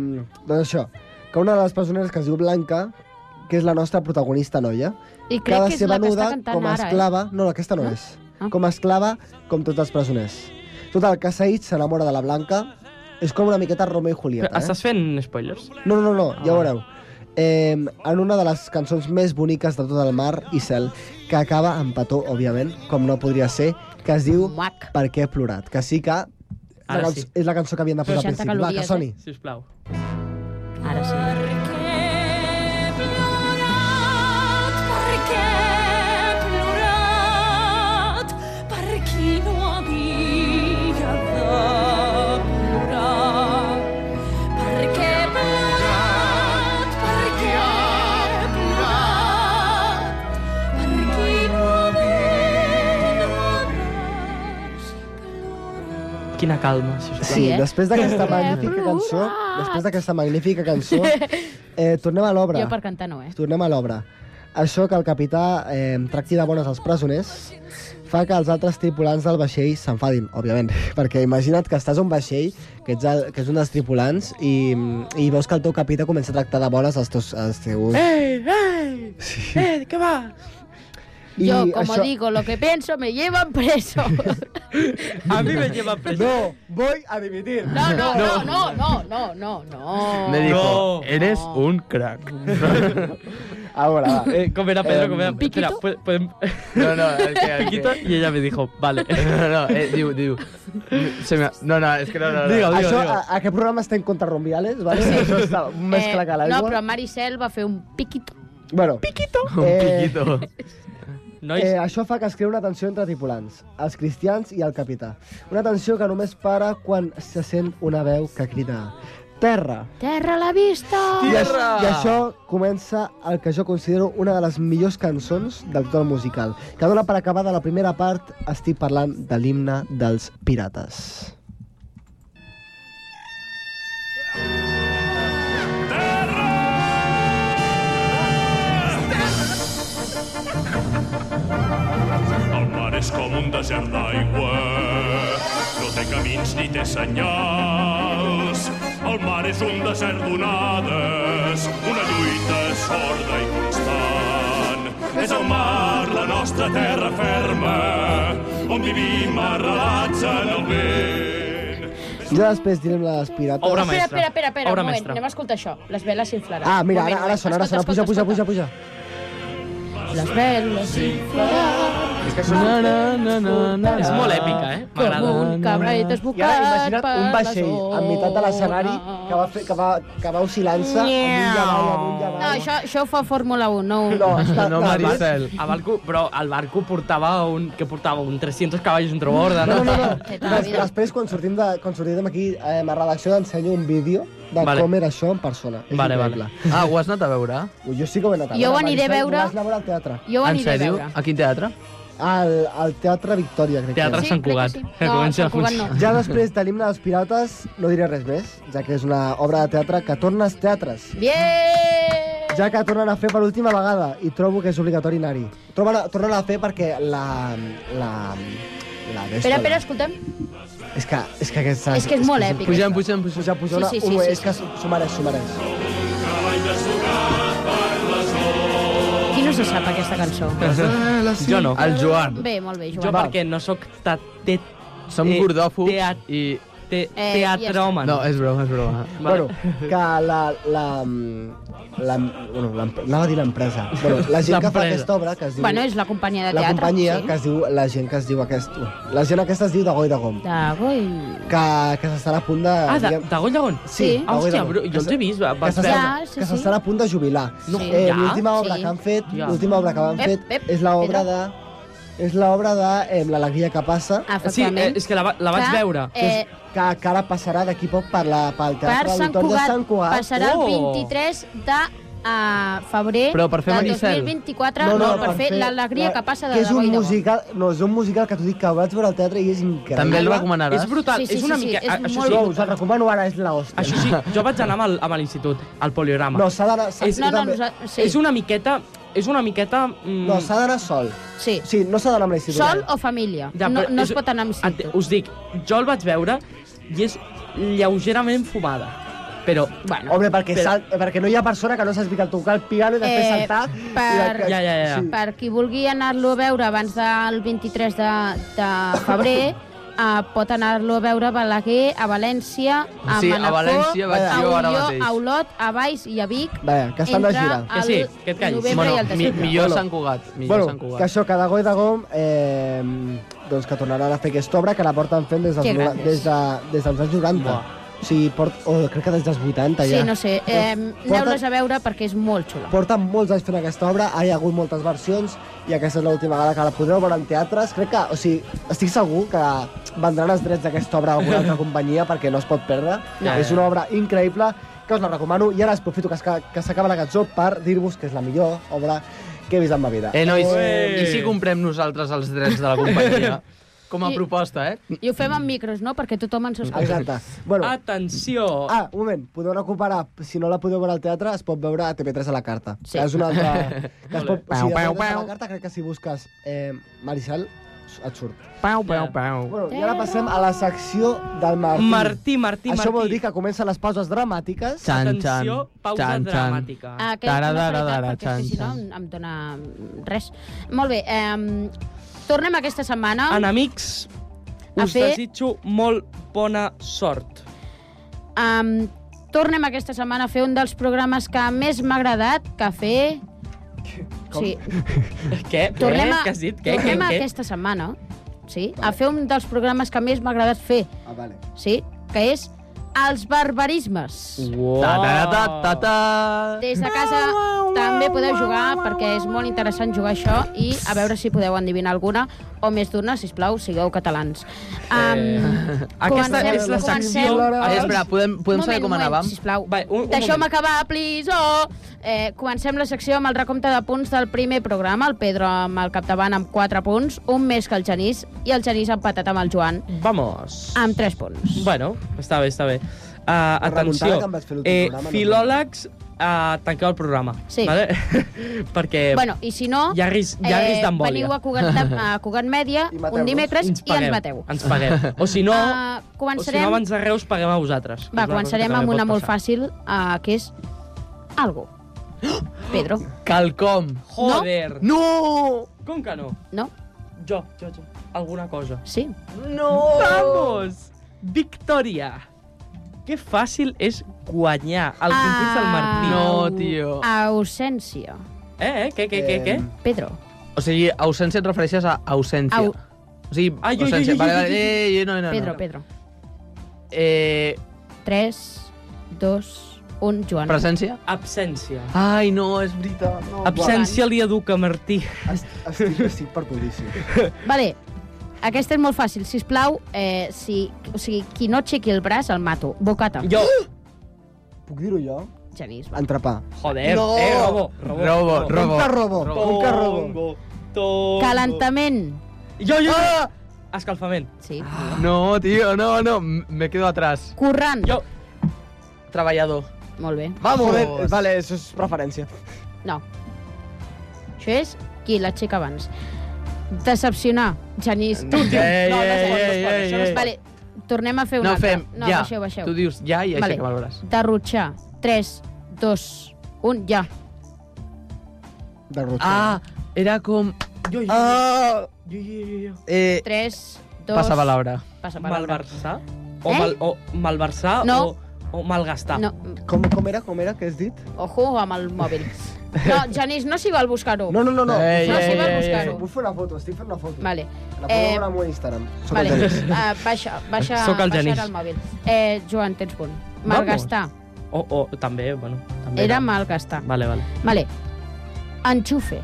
doncs això, que una de les persones que es diu Blanca, que és la nostra protagonista noia,
I
que
crec
ha de
que és
ser
la que
venuda
està cantant
com a
ara, eh?
esclava... No, aquesta no,
No?
és.
Ah.
Com a esclava, com tots els presoners. Total, que Said s'enamora de la Blanca. És com una miqueta Romeo i Julieta, eh?
Estàs fent spoilers?
No, no, no, no ja ho veureu. Eh, en una de les cançons més boniques de tot el mar i cel, que acaba amb petó, òbviament, com no podria ser, que es diu
Mac.
Per què he plorat, que sí que... la
Ara
canç-
sí.
És la cançó que havien de posar al
60
principi. Va, que
calories, eh?
soni.
Si us plau.
Ara sí.
Quina calma, si us plau.
Sí,
eh?
després d'aquesta
He
magnífica
plorat.
cançó, després d'aquesta magnífica cançó, eh, tornem a l'obra.
Jo per cantar no, eh?
Tornem a l'obra. Això que el capità eh, tracti de bones els presoners fa que els altres tripulants del vaixell s'enfadin, òbviament, perquè imagina't que estàs a un vaixell, que, ets el, que és un dels tripulants, i, i veus que el teu capità comença a tractar de bones els teus... Els teus...
Ei, ei! Sí. Ei, què va?
I
Yo, como digo, lo que pienso me llevan preso.
A mi me lleva preso.
No, voy a dimitir.
No, no, no, no, no, no, no, no.
Me dijo,
No.
eres un crack.
A veure, Ah, va.
Eh, com era, Pedro? Com era? Espera,
Piquito?
po- podem...
No, no, el que... El
Piquito,
que...
i ella me dijo, vale.
No, no, eh, diu, diu. Se me... No, no, és que no, no. no.
Digue-ho, digue-ho.
Això,
digue.
a, a aquest programa estem contra rumbiales, vale? Sí. Això està més clar que l'aigua.
Eh, no, però Maricel va fer un piquito.
Bueno, piquito.
Un piquito.
Nois,
Eh, això fa que es crea una tensió entre tripulants, els cristians i el capità. Una tensió que només para quan se sent una veu que crida Terra!
Terra a la vista!
I, això, I això comença el que jo considero una de les millors cançons del tot musical, que dona per acabada la primera part, estic parlant de l'himne dels pirates.
El mar és com un desert d'aigua, no té camins ni té senyals. El mar és un desert d'onades, una lluita sorda i constant. És el mar la nostra terra ferma, on vivim arrelats en el vent.
Ja després direm les pirates.
Obra
Espera,
maestra.
espera, espera, espera,
Obra
un moment,
maestra.
anem a escoltar això. Les veles s'inflaran.
Ah, mira,
Un
ara,
moment,
ara sona, ara sona.
escolta,
Puja, puja,
escolta,
puja, puja.
escolta. Les veles s'inflaran
Na, na, na, na, na.
És molt èpica, eh? M'agrada.
com un cabret
I ara
desbocat
imagina't
per
un vaixell
la
en meitat de l'escenari
zona.
que va, fer, que va, que va oscil·lant-se amunt i avall, amunt i avall.
No, això, això ho fa Fórmula 1, no un...
No, està,
No, Maricel.
A barco, però el barco portava un... que portava? Un 300 cavalls entre borda,
No,
no?
no, no.
Té tota la
Des,
vida.
després, quan sortim, de, quan sortim aquí eh, a redacció, t'ensenyo un vídeo de
Vale.
vale. com era això en persona. És
Vale,
increïble.
Ah, ho has anat a veure?
Ui, Jo sí que ho he anat a
Jo ho
veure,
aniré a
Maricel,
veure.
Ho vas anar a veure al teatre.
Jo ho
en
aniré a
sèrio?
veure.
A quin teatre?
Al, al Teatre Victòria, crec
Teatre
que
Sant
crec que
Cugat.
sí.
Que
No,
comença
Sant
a
Cugat no.
és. Ja després de l'himne dels pirates, no diré res més, ja que és una obra de teatre que torna als teatres.
Bien!
Ja que tornen a fer per última vegada, i trobo que és obligatori anar-hi. Tornen, a- tornen a fer perquè la... la... la
Espera, espera, escoltem.
És que, és que aquesta...
És que és molt èpic.
Pugem, pugem, pugem.
Puja, puja,
Sí,
sí,
sí, sí,
sí,
sí,
és que s'ho mereix, s'ho mereix.
Qui no se sap aquesta cançó?
Jo no.
El Joan.
Bé, molt bé,
Jo
Joan.
perquè no sóc ta... te...
Som
Eh,
gordòfobs
teat-
i...
te...
Eh,
teatròman.
No, és broma, és broma.
Bueno, que la... la, la bueno, l'em- anava a dir l'empresa. Bueno, la gent que fa
L'empresa.
aquesta obra, que es diu...
Bueno, és la companyia de
la
teatre.
companyia
sí.
que es diu... La gent que es diu aquest... La gent aquesta es diu Dagoi Dagom.
De Goi.
Que, que s'estarà a punt de...
Ah, de,
diguem-
de Goll de Gon.
Sí.
Dagoi
Hòstia,
Dagom.
bro, jo els he vist. Va,
que
vaig
s'estarà
veure.
Ja, sí,
que
sí.
s'estarà a punt de jubilar.
No,
eh,
ja?
L'última obra
Sí.
que han fet,
Ja.
l'última obra que han
Ep,
fet
ep,
és l'obra de...
Pedro.
És l'obra de eh, L'alegria que passa,
Sí, eh,
Efectivament.
és que la, va- la vaig
Que,
veure.
Ah, Eh,
que, que ara passarà d'aquí poc per la, pel
per
Teatre
Sant
Auditori de
Cugat,
Sant Cugat.
passarà el
Oh!
23 de uh, febrer
Però per fer
del
Maricel.
2024 no, per fer l'alegria
la-
que passa de
que és
Dagoi
un
Dagom.
musical, no, és un musical que t'ho dic que vaig veure al teatre i és increïble.
També el
És
recomanaràs?
brutal,
Sí, sí,
és una
sí, sí,
mica...
és
a- això
molt
No,
sí,
us el recomano ara, és l'hòstia.
Això sí, jo vaig anar amb el- amb l'institut, al poliorama.
No, s'ha d'anar... s'ha-
És-
jo
No, no,
també-
nosa- sí.
És una miqueta... És una miqueta... mm,
No, s'ha d'anar sol.
Sí.
Sí, no s'ha d'anar amb l'institut.
Sol o família.
ja,
no,
però
no
és-
es pot anar amb
Ente-
cinto.
Us dic, jo el vaig veure i és lleugerament fumada. Però, bueno...
Hombre, perquè,
Però-
sal, perquè no hi ha persona que no saps que tocar el piano i després
Eh,
saltar...
per-
Ja, ja, ja.
Sí.
Per qui vulgui anar-lo a veure abans del 23 de, de febrer, eh, pot anar-lo a veure a Balaguer, a València, a
Sí, a
Manacor,
València vaig
a
jo ara
Unió,
mateix.
a Olot, a Valls i a Vic.
Vaja, que estan de
entre
gira.
Que sí,
el
que et callis.
Novembre
Bueno,
i el
mi,
desembre.
millor
Bueno.
Sant Cugat. Millor
Bueno,
Sant Cugat.
que això, que de goi de gom, eh, doncs que tornaran a fer aquesta obra que la porten fent des dels,
Que
nova-
grandes.
des, de, des dels anys 90. O sigui, port, oh, crec que des dels 80 ja.
Sí, no sé. Eh, Aneu-les a veure perquè és molt xula.
Porten molts anys fent aquesta obra, hi ha hagut moltes versions i aquesta és l'última vegada que la podreu veure en teatres. Crec que, o sigui, estic segur que vendran els drets d'aquesta obra a alguna altra companyia perquè no es pot perdre.
Ja,
és
ja.
una obra increïble que us la recomano i ara aprofito que, es- que, que s'acaba la cançó per dir-vos que és la millor obra que he vist en ma vida.
Eh, nois,
Ué.
i si comprem nosaltres els drets de la companyia? com a
I-
proposta, eh?
I ho fem amb micros, no? Perquè tothom ens escolta.
Exacte. Bueno, ah.
Atenció!
ah, un moment, podeu recuperar, si no la podeu veure al teatre, es pot veure a TV3 a la carta.
Sí.
Que és una altra... que es pot, si
Pau,
de
pau,
TV3 a
pau.
la carta, crec que si busques eh, Marisal, et surt.
eh,
Pau, pau, pau.
Bueno, i ara passem a la secció del Martí.
Martí, Martí,
Això
Martí.
vol dir que comencen les pauses dramàtiques.
Chan,
Atenció,
chan,
pausa
chan, chan.
dramàtica.
Ah, que
Tara,
és una
tara,
qualitat,
tara,
perquè
chan,
si no
chan.
em, em dona mm, res. Molt bé, eh, tornem aquesta setmana.
Enemics,
A
us
fer-
desitjo molt bona sort.
Um, tornem aquesta setmana a fer un dels programes que més m'ha agradat, que fer... Com? Sí,
Què?
tornem, a,
Què has dit? Què? Què?
tornem a
Què?
aquesta setmana, sí, a fer un dels programes que més m'ha agradat fer,
Ah, vale.
sí, que és els barbarismes.
Uau.
Ta, ta, ta, ta, ta.
Des de casa també podeu jugar perquè és molt interessant jugar això i a veure si podeu endivinar alguna o més d'una, si plau, sigueu catalans.
Eh.
Um,
Aquesta
comencem-
és la secció...
comencem-
Ah, espera, podem, podem saber com anàvem?
sisplau.
Va, un- un
Deixeu-me
moment.
acabar, please. Oh. Eh, comencem la secció amb el recompte de punts del primer programa. El Pedro amb el capdavant amb 4 punts, un més que el Genís, i el Genís empatat amb el Joan
Vamos.
amb 3 punts.
Bueno, està bé, està bé. Uh, atenció,
remuntada que em vas fer l'últim
eh,
programa, no?
filòlegs, uh, tanqueu el programa.
Sí.
Vale? Perquè
bueno, i si
eh,
no, eh,
hi ha risc, hi ha risc d'embòlia.
veniu a Cugat, a Cugat Mèdia
I mateu-nos.
un dimecres
ens
i ens
pagueu,
mateu.
Ens paguem. O si no, o si
Ah,
no
començarem,
abans de Reus, paguem a vosaltres.
va, començarem amb una molt fàcil, uh, que és algo. Pedro,
Calcom.
Joder! No?
No!
Com que no?
no?
Jo, jo, jo. Alguna cosa.
Sí.
No!
Vamos! Victòria! Que fàcil és guanyar el concurs del Martí.
Ah.
No, tio.
Ausència.
Eh, eh, què, què, què, què?
Pedro.
O sigui, ausència et refereixes a ausència.
Au.
O sigui,
Ai, ai, ai,
ausència.
ai,
Vale,
ai,
vale,
ai,
ei, ei, no, no, no.
Pedro, Pedro.
Eh,
3, 2, 1, Joan.
presència?
Absència.
Ai, no, és veritat. No.
Absència li educa, Martí.
Estic, estic perdudíssim.
Vale. Aquesta és molt fàcil. Si plau, eh, si, o sigui, qui no aixequi el braç, el mato. Bocata.
Jo,
Puc dir-ho jo?
Genís, va.
Entrepà.
joder,
No.
eh, robo, robo.
Robo, robo.
Un carrobo.
Robo.
Un carrobo.
Tongo, tongo.
Calentament.
Jo, jo, jo. Escalfament.
Sí.
Ah. No, tio, no, no. m- Me quedo atrás.
Currant.
Jo,
Treballador.
Molt bé.
Vamos.
Joder.
Vale, eso es preferència.
No. Això és qui l'aixeca abans. Decepcionar. Genís.
Tu, tio. Ei,
No, no es pot,
ei,
no es
ei,
pot,
ei,
això no es
ei.
Vale. Tornem a fer
eh,
una
No
altra.
fem,
No,
ja.
baixeu, baixeu.
Tu dius ja i
Vale.
aixequem el braç.
Derrotxar. 3, 2, 1, ja.
Derrotxar.
Ah, era com...
jo, jo,
Ah,
jo, jo, jo, jo.
eh,
3, 2...
passa palabra.
Passa palabra.
Malversar? O,
Eh?
mal, o malversar
No.
o, o malgastar.
No,
Com, com era, com era, què has dit?
ojo amb el mòbil. No, Genís, no s'hi val buscar-ho.
No, no, no, no.
Ei,
No, si
ei,
vas
ei,
buscar-ho.
Vull fer una foto, estic fent una foto.
Vale.
La podeu
Eh,
veure al meu Instagram. Soc
Vale,
el Genís.
uh, baixa, baixa,
Sóc el
baixa
Genís.
ara el mòbil. Eh, Joan, tens punt. Malgastar.
O, o també, bueno... També
Era malgastar.
Vale, vale.
Vale. Enxufe.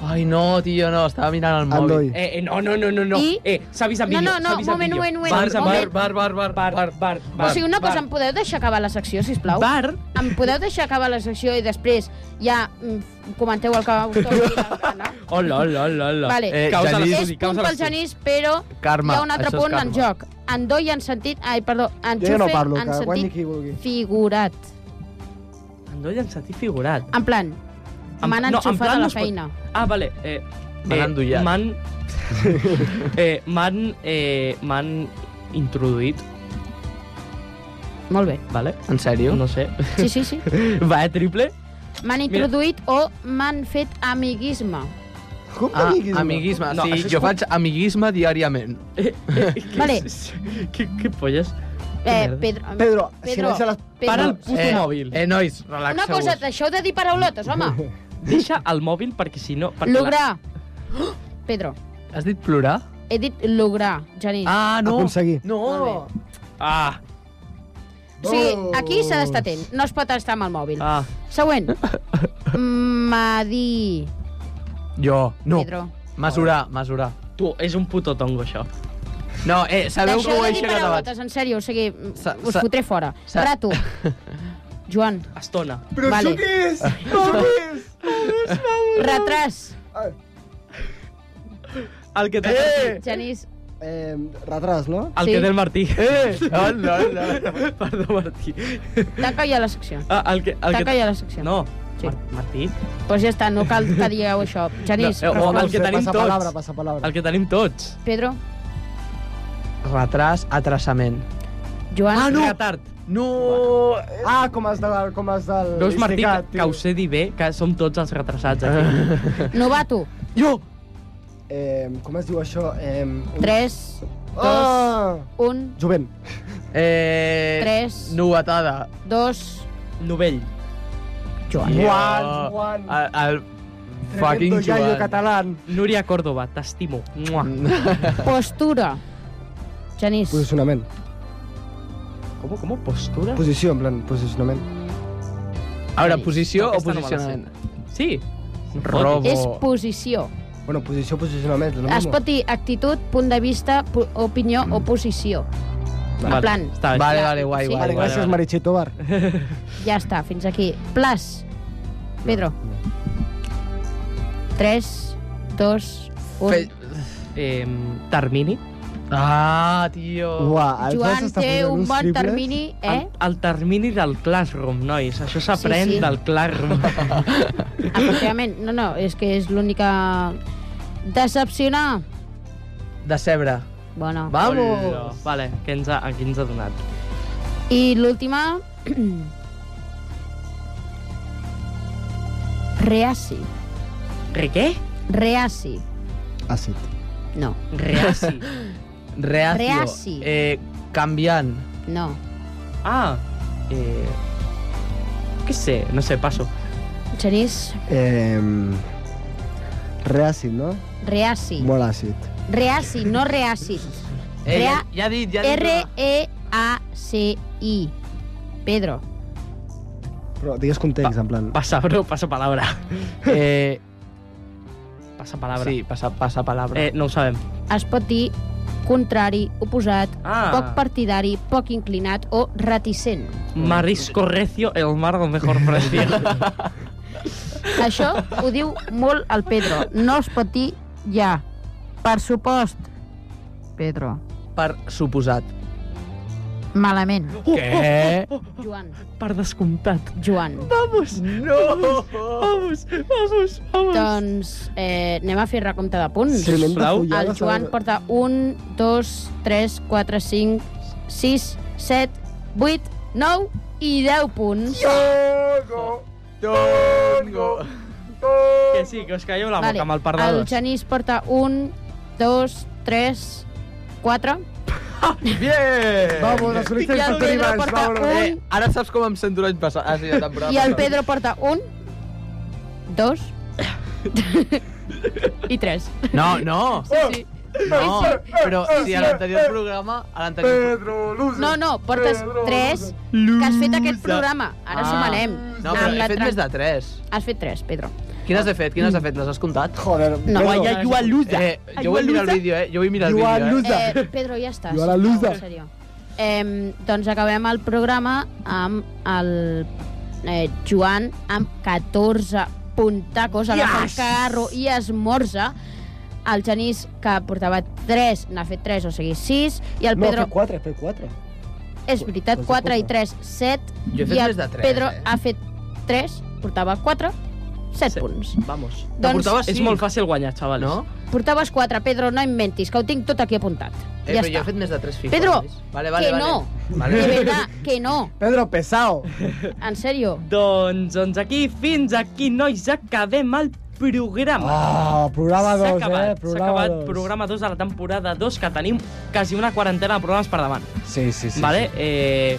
Ai, no, tio, no, estava mirant el mòbil.
Endoll.
Eh, eh, no, no, no, no, no.
I-
Eh, s'avisa
No,
vídeo,
no, no,
s'avisa
moment,
vídeo.
moment, moment.
Bar, bar,
moment.
bar, bar, bar,
Bar, bar, bar, bar.
o sigui, una cosa,
bar.
em podeu deixar acabar la secció, si plau?
Bar,
Em podeu deixar acabar la secció i després ja mm, comenteu el que us toqui.
Hola, hola, hola, hola.
Vale.
Eh,
causa
Genís.
És
l'estudi,
punt
causa
pel
l'estudi.
Genís, però
Karma,
hi ha un altre
això és
punt en
karma.
joc. Endoll en sentit... Ai, perdó, enxufe
Jo ja no parlo,
en
que guanyi
sentit
qui vulgui.
figurat.
Endoll en sentit figurat.
En plan,
En-
m'han
no, en
enxufat
plan
a
no
la
es pot-
feina.
Ah, vale. Eh,
M'han endollat.
M'han... eh, m'han... Eh, m'han introduït,
Molt bé.
vale?
En sèrio?
No sé.
Sí, sí, sí.
Va, eh, triple?
M'han introduït o m'han fet amiguisme.
Com
Ah,
amiguisme?
amiguisme.
No,
sí,
això és
jo
com-
faig amiguisme diàriament.
Eh, eh, què
Vale.
és- Què, què polles?
Eh,
merda.
Pedro...
Pedro,
Pedro,
silencia les...
Pedro,
Para el puto
eh,
mòbil.
Eh, nois, relaxeu-vos.
Una cosa, deixeu de dir paraulotes, home.
Deixa el mòbil perquè si no... Perquè
Lograr. Pedro,
Has dit plorar?
he dit lograr, Genís.
Ah, no.
Aconseguir.
No.
Molt
Ah,
O sigui, aquí s'ha d'estar atent. No es pot estar amb el mòbil.
Oh. ah.
Següent. Madi.
Jo, no.
Pedro.
Mesurar, mesurar.
Tu, és un puto tongo, això.
No, eh, sabeu que
Deixeu
ho he
de dir
aixecat
paraulotes,
abans.
en sèrio. O sigui, m-
Sa-
us
sa-
fotré fora.
sa-
Rato. Joan.
Estona.
Però
Vale.
això què és? Com és?
Retras.
El que té,
Eh!
Genís,
Eh, retras, no?
el
Sí.
que té el Martí.
Eh! Hola, hola.
Perdó, Martí.
tanca ja la secció.
Ah, el que, el
Tanca
que...
ja la secció.
No,
Sí.
Mar- Martí.
Doncs pues ja està, no cal que digueu això. Genís,
No, eh,
no,
o-
o,
el que tenim
passa
tots.
Palabra, passa palabra.
El que tenim tots.
Pedro,
Retras, atrasament.
Joan...
Retard.
No!
Ah, com els, de, com els del...
Veus, Martí, que,
Instigat,
que
tio.
us he dit bé que som tots els retrasats aquí.
Novato,
Jo!
Eh, com es diu això? Eh, un-
3,
Ah!
1,
Jovent.
Eh...
3,
Novetada.
2...
Novell.
Joan.
Juan, Juan.
El, el fucking
Tremendo iaio
Joan.
català.
Núria Córdoba, t'estimo. Mua.
Mm.
Postura. Genís,
Posicionament.
Com, com, postura?
Posició, en plan, posicionament.
A veure, posició o
Aquesta no me la sé.
posicionament?
Sí.
Robo.
és posició.
Bueno, posició, posicionament, és el
Es
mismo.
pot dir actitud, punt de vista, po- opinió o posició.
Mm. Vale,
plan.
Està bé.
Vale, vale, guai,
Sí.
guai.
Vale,
guai.
gràcies,
vale.
Meritxell Tobar.
Ja està, fins aquí. Plas. Pedro. 3, 2, 1...
Fe-
Eh, termini.
Ah, tio.
Uah, el Plas
Joan
està
té
posant
un
uns
bon
triples.
termini, eh?
El, el termini del Classroom, nois. Això s'aprèn
Sí, sí.
del Classroom.
Efectivament. No, no, és que és l'única... Decepcionar.
Decebre.
Bueno.
Hola.
Vamos.
Vale, què ens ha, què ens ha donat?
I l'última... Reaci.
Re què?
Reaci.
Àcid.
No,
Reaci.
Reacio.
Reaci.
Eh, canviant.
no.
Ah, eh... Què sé? No sé, passo.
Genís,
Eh, reàcid, no?
reaci.
Molt àcid.
Reaci, no reaci.
Eh,
Rea-
ja, ja ha dit, ja ha dit.
R-E-A-C-I. Pedro.
Però digues context, en plan...
Passa, bro, passa palabra.
Eh,
Passa palabra.
sí, passa, passa palabra.
Eh, no ho sabem.
Es pot dir contrari, oposat,
Ah.
poc partidari, poc inclinat o reticent.
Marisco recio, el mar del mejor precio.
Això ho diu molt el Pedro. No es pot dir ja. Per supost. Pedro.
Per suposat.
Malament.
Què?
Joan.
per descomptat.
Joan.
Vamos, no! Vamos, vamos, vamos.
Doncs eh, anem a fer recompte de punts.
Tremenda
sisplau.
fullada,
El Joan
saber-
porta 1, 2, 3, 4, 5, 6, 7, 8, 9 i 10 punts.
Tongo. Tongo.
Que sí, que us calleu la boca
Vale,
amb el
El
pardador.
Genís porta 1, 2, 3, 4.
Bien!
Vamos, els
I
solistes
el Pedro porta
Eh,
1.
ara saps com em sento l'any passat. Ah, sí, la temporada
I el
passada.
Pedro porta 1, 2 i 3.
No, no.
sí.
Oh! No, però si a l'anterior programa... A l'anterior...
No, no, portes 3 que has fet aquest programa. Ara
Ah.
sumarem.
No, però
Amb
he
la
fet
tran- Ah.
més de 3.
Has fet 3, Pedro.
Quines he fet? Quines he fet? Les has comptat?
No.
Joder, Pedro.
Guaya Yualuda.
Eh, jo vull mirar el vídeo, eh? Jo vull mirar el
You are
vídeo, eh?
loser.
Eh, Pedro, ja està.
Jo a la
sisplau,
lusa.
en sèrio. Eh, doncs acabem el programa amb el eh, Joan amb 14 puntacos a la yes! carro i esmorza. El Genís, que portava 3, n'ha fet 3, o sigui 6, i el
No,
Pedro,
fet 4, fet 4.
és veritat,
Doncs
4 i
escolta.
3, 7,
Jo he fet
i el
més de tres,
Pedro
eh?
ha fet 3, portava 4, 7
Set.
punts.
Vamos.
Doncs
portava
És
Ah, Sí.
molt fàcil guanyar, xavals.
No?
portaves 4, Pedro, no inventis, que ho tinc tot aquí apuntat.
Eh,
ja
però jo
està.
he fet més de 3 fixes.
Pedro,
vale, vale,
que
vale.
no.
Vale.
De veritat, que no,
Pedro Pesao.
en sèrio.
Doncs, doncs aquí, fins aquí, nois, acabem el programa.
Ah, programa
S'ha
2, eh?
acabat, s'ha
Programa
acabat
2.
programa 2 de la temporada 2, que tenim quasi una quarantena de programes per davant.
Sí, sí, sí.
vale? Eh,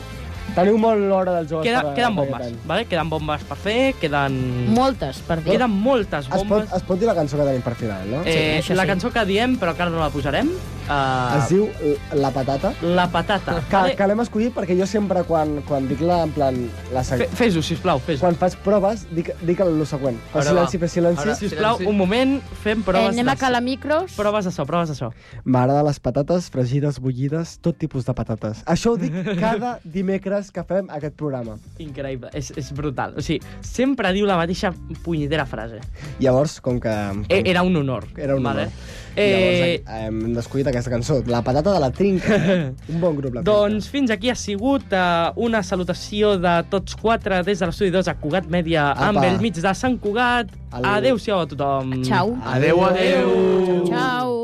Teniu molt l'hora dels joves.
queda,
per-
queden
per aquest
bombes,
any.
vale? Queden bombes per fer, queden...
Moltes, per dir. Eh,
Queden moltes
Es
bombes.
pot, es pot dir la cançó que tenim per final, no? Eh,
Eh,
això
la
sí.
cançó que diem, però que ara no la posarem,
Ah,
es
eh,
diu eh, La Patata.
La Patata.
Que, que l'hem escollit perquè jo sempre, quan, quan dic la, en plan, la sec...
Fe- Fes-ho, sisplau, fes-ho.
Quan faig proves, dic, dic el, lo següent. Fa
Ara
silenci,
va.
fes silenci.
Ara.
Sisplau,
Silenci.
un moment, fem
Eh,
proves
anem a
de-
calar micros.
Proves de so, proves de so.
M'agrada les patates, fregides, bullides, tot tipus de patates. Això ho dic cada dimecres que fem aquest programa.
Increïble, és, és brutal. O sigui, sempre diu la mateixa punyetera frase.
Llavors, com que...
E- Era un honor.
Era un honor.
vale?
Eh...
Eh,
Llavors, hem descollit aquesta cançó, La patata de la trinca. Un bon grup, la trinca.
doncs fins aquí ha sigut eh, una salutació de tots quatre des de l'estudi 2 a Cugat Mèdia
Apa.
amb el mig de Sant Cugat.
Al-
Adéu-siau a tothom.
Ciao.
Adeu, adeu.
Ciao.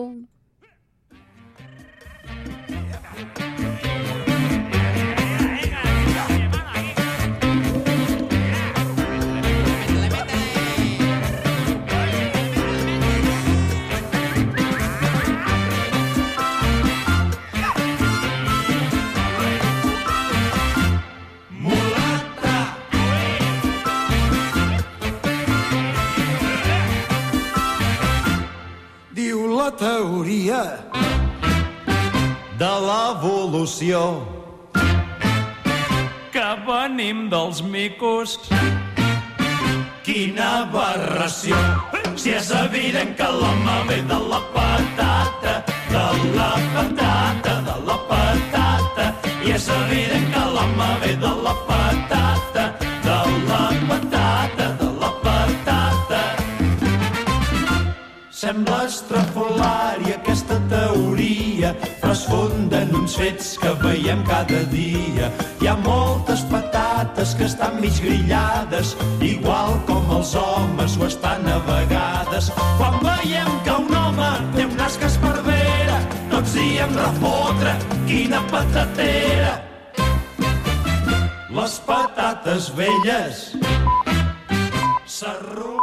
diu la teoria de l'evolució
que venim dels micos.
quina aberració. Si és evident que l'home ve de la patata, de la patata, de la patata. I és evident que l'home ve de la patata, de la patata, de la patata. Sembla estrafolària aquesta teoria, però es fonda en uns fets que veiem cada dia. Hi ha moltes patates que estan mig grillades, igual com els homes ho estan a vegades. Quan veiem que un home té un nas que es perdera, tots diem refotre, quina patatera! Les patates velles s'arruïnen.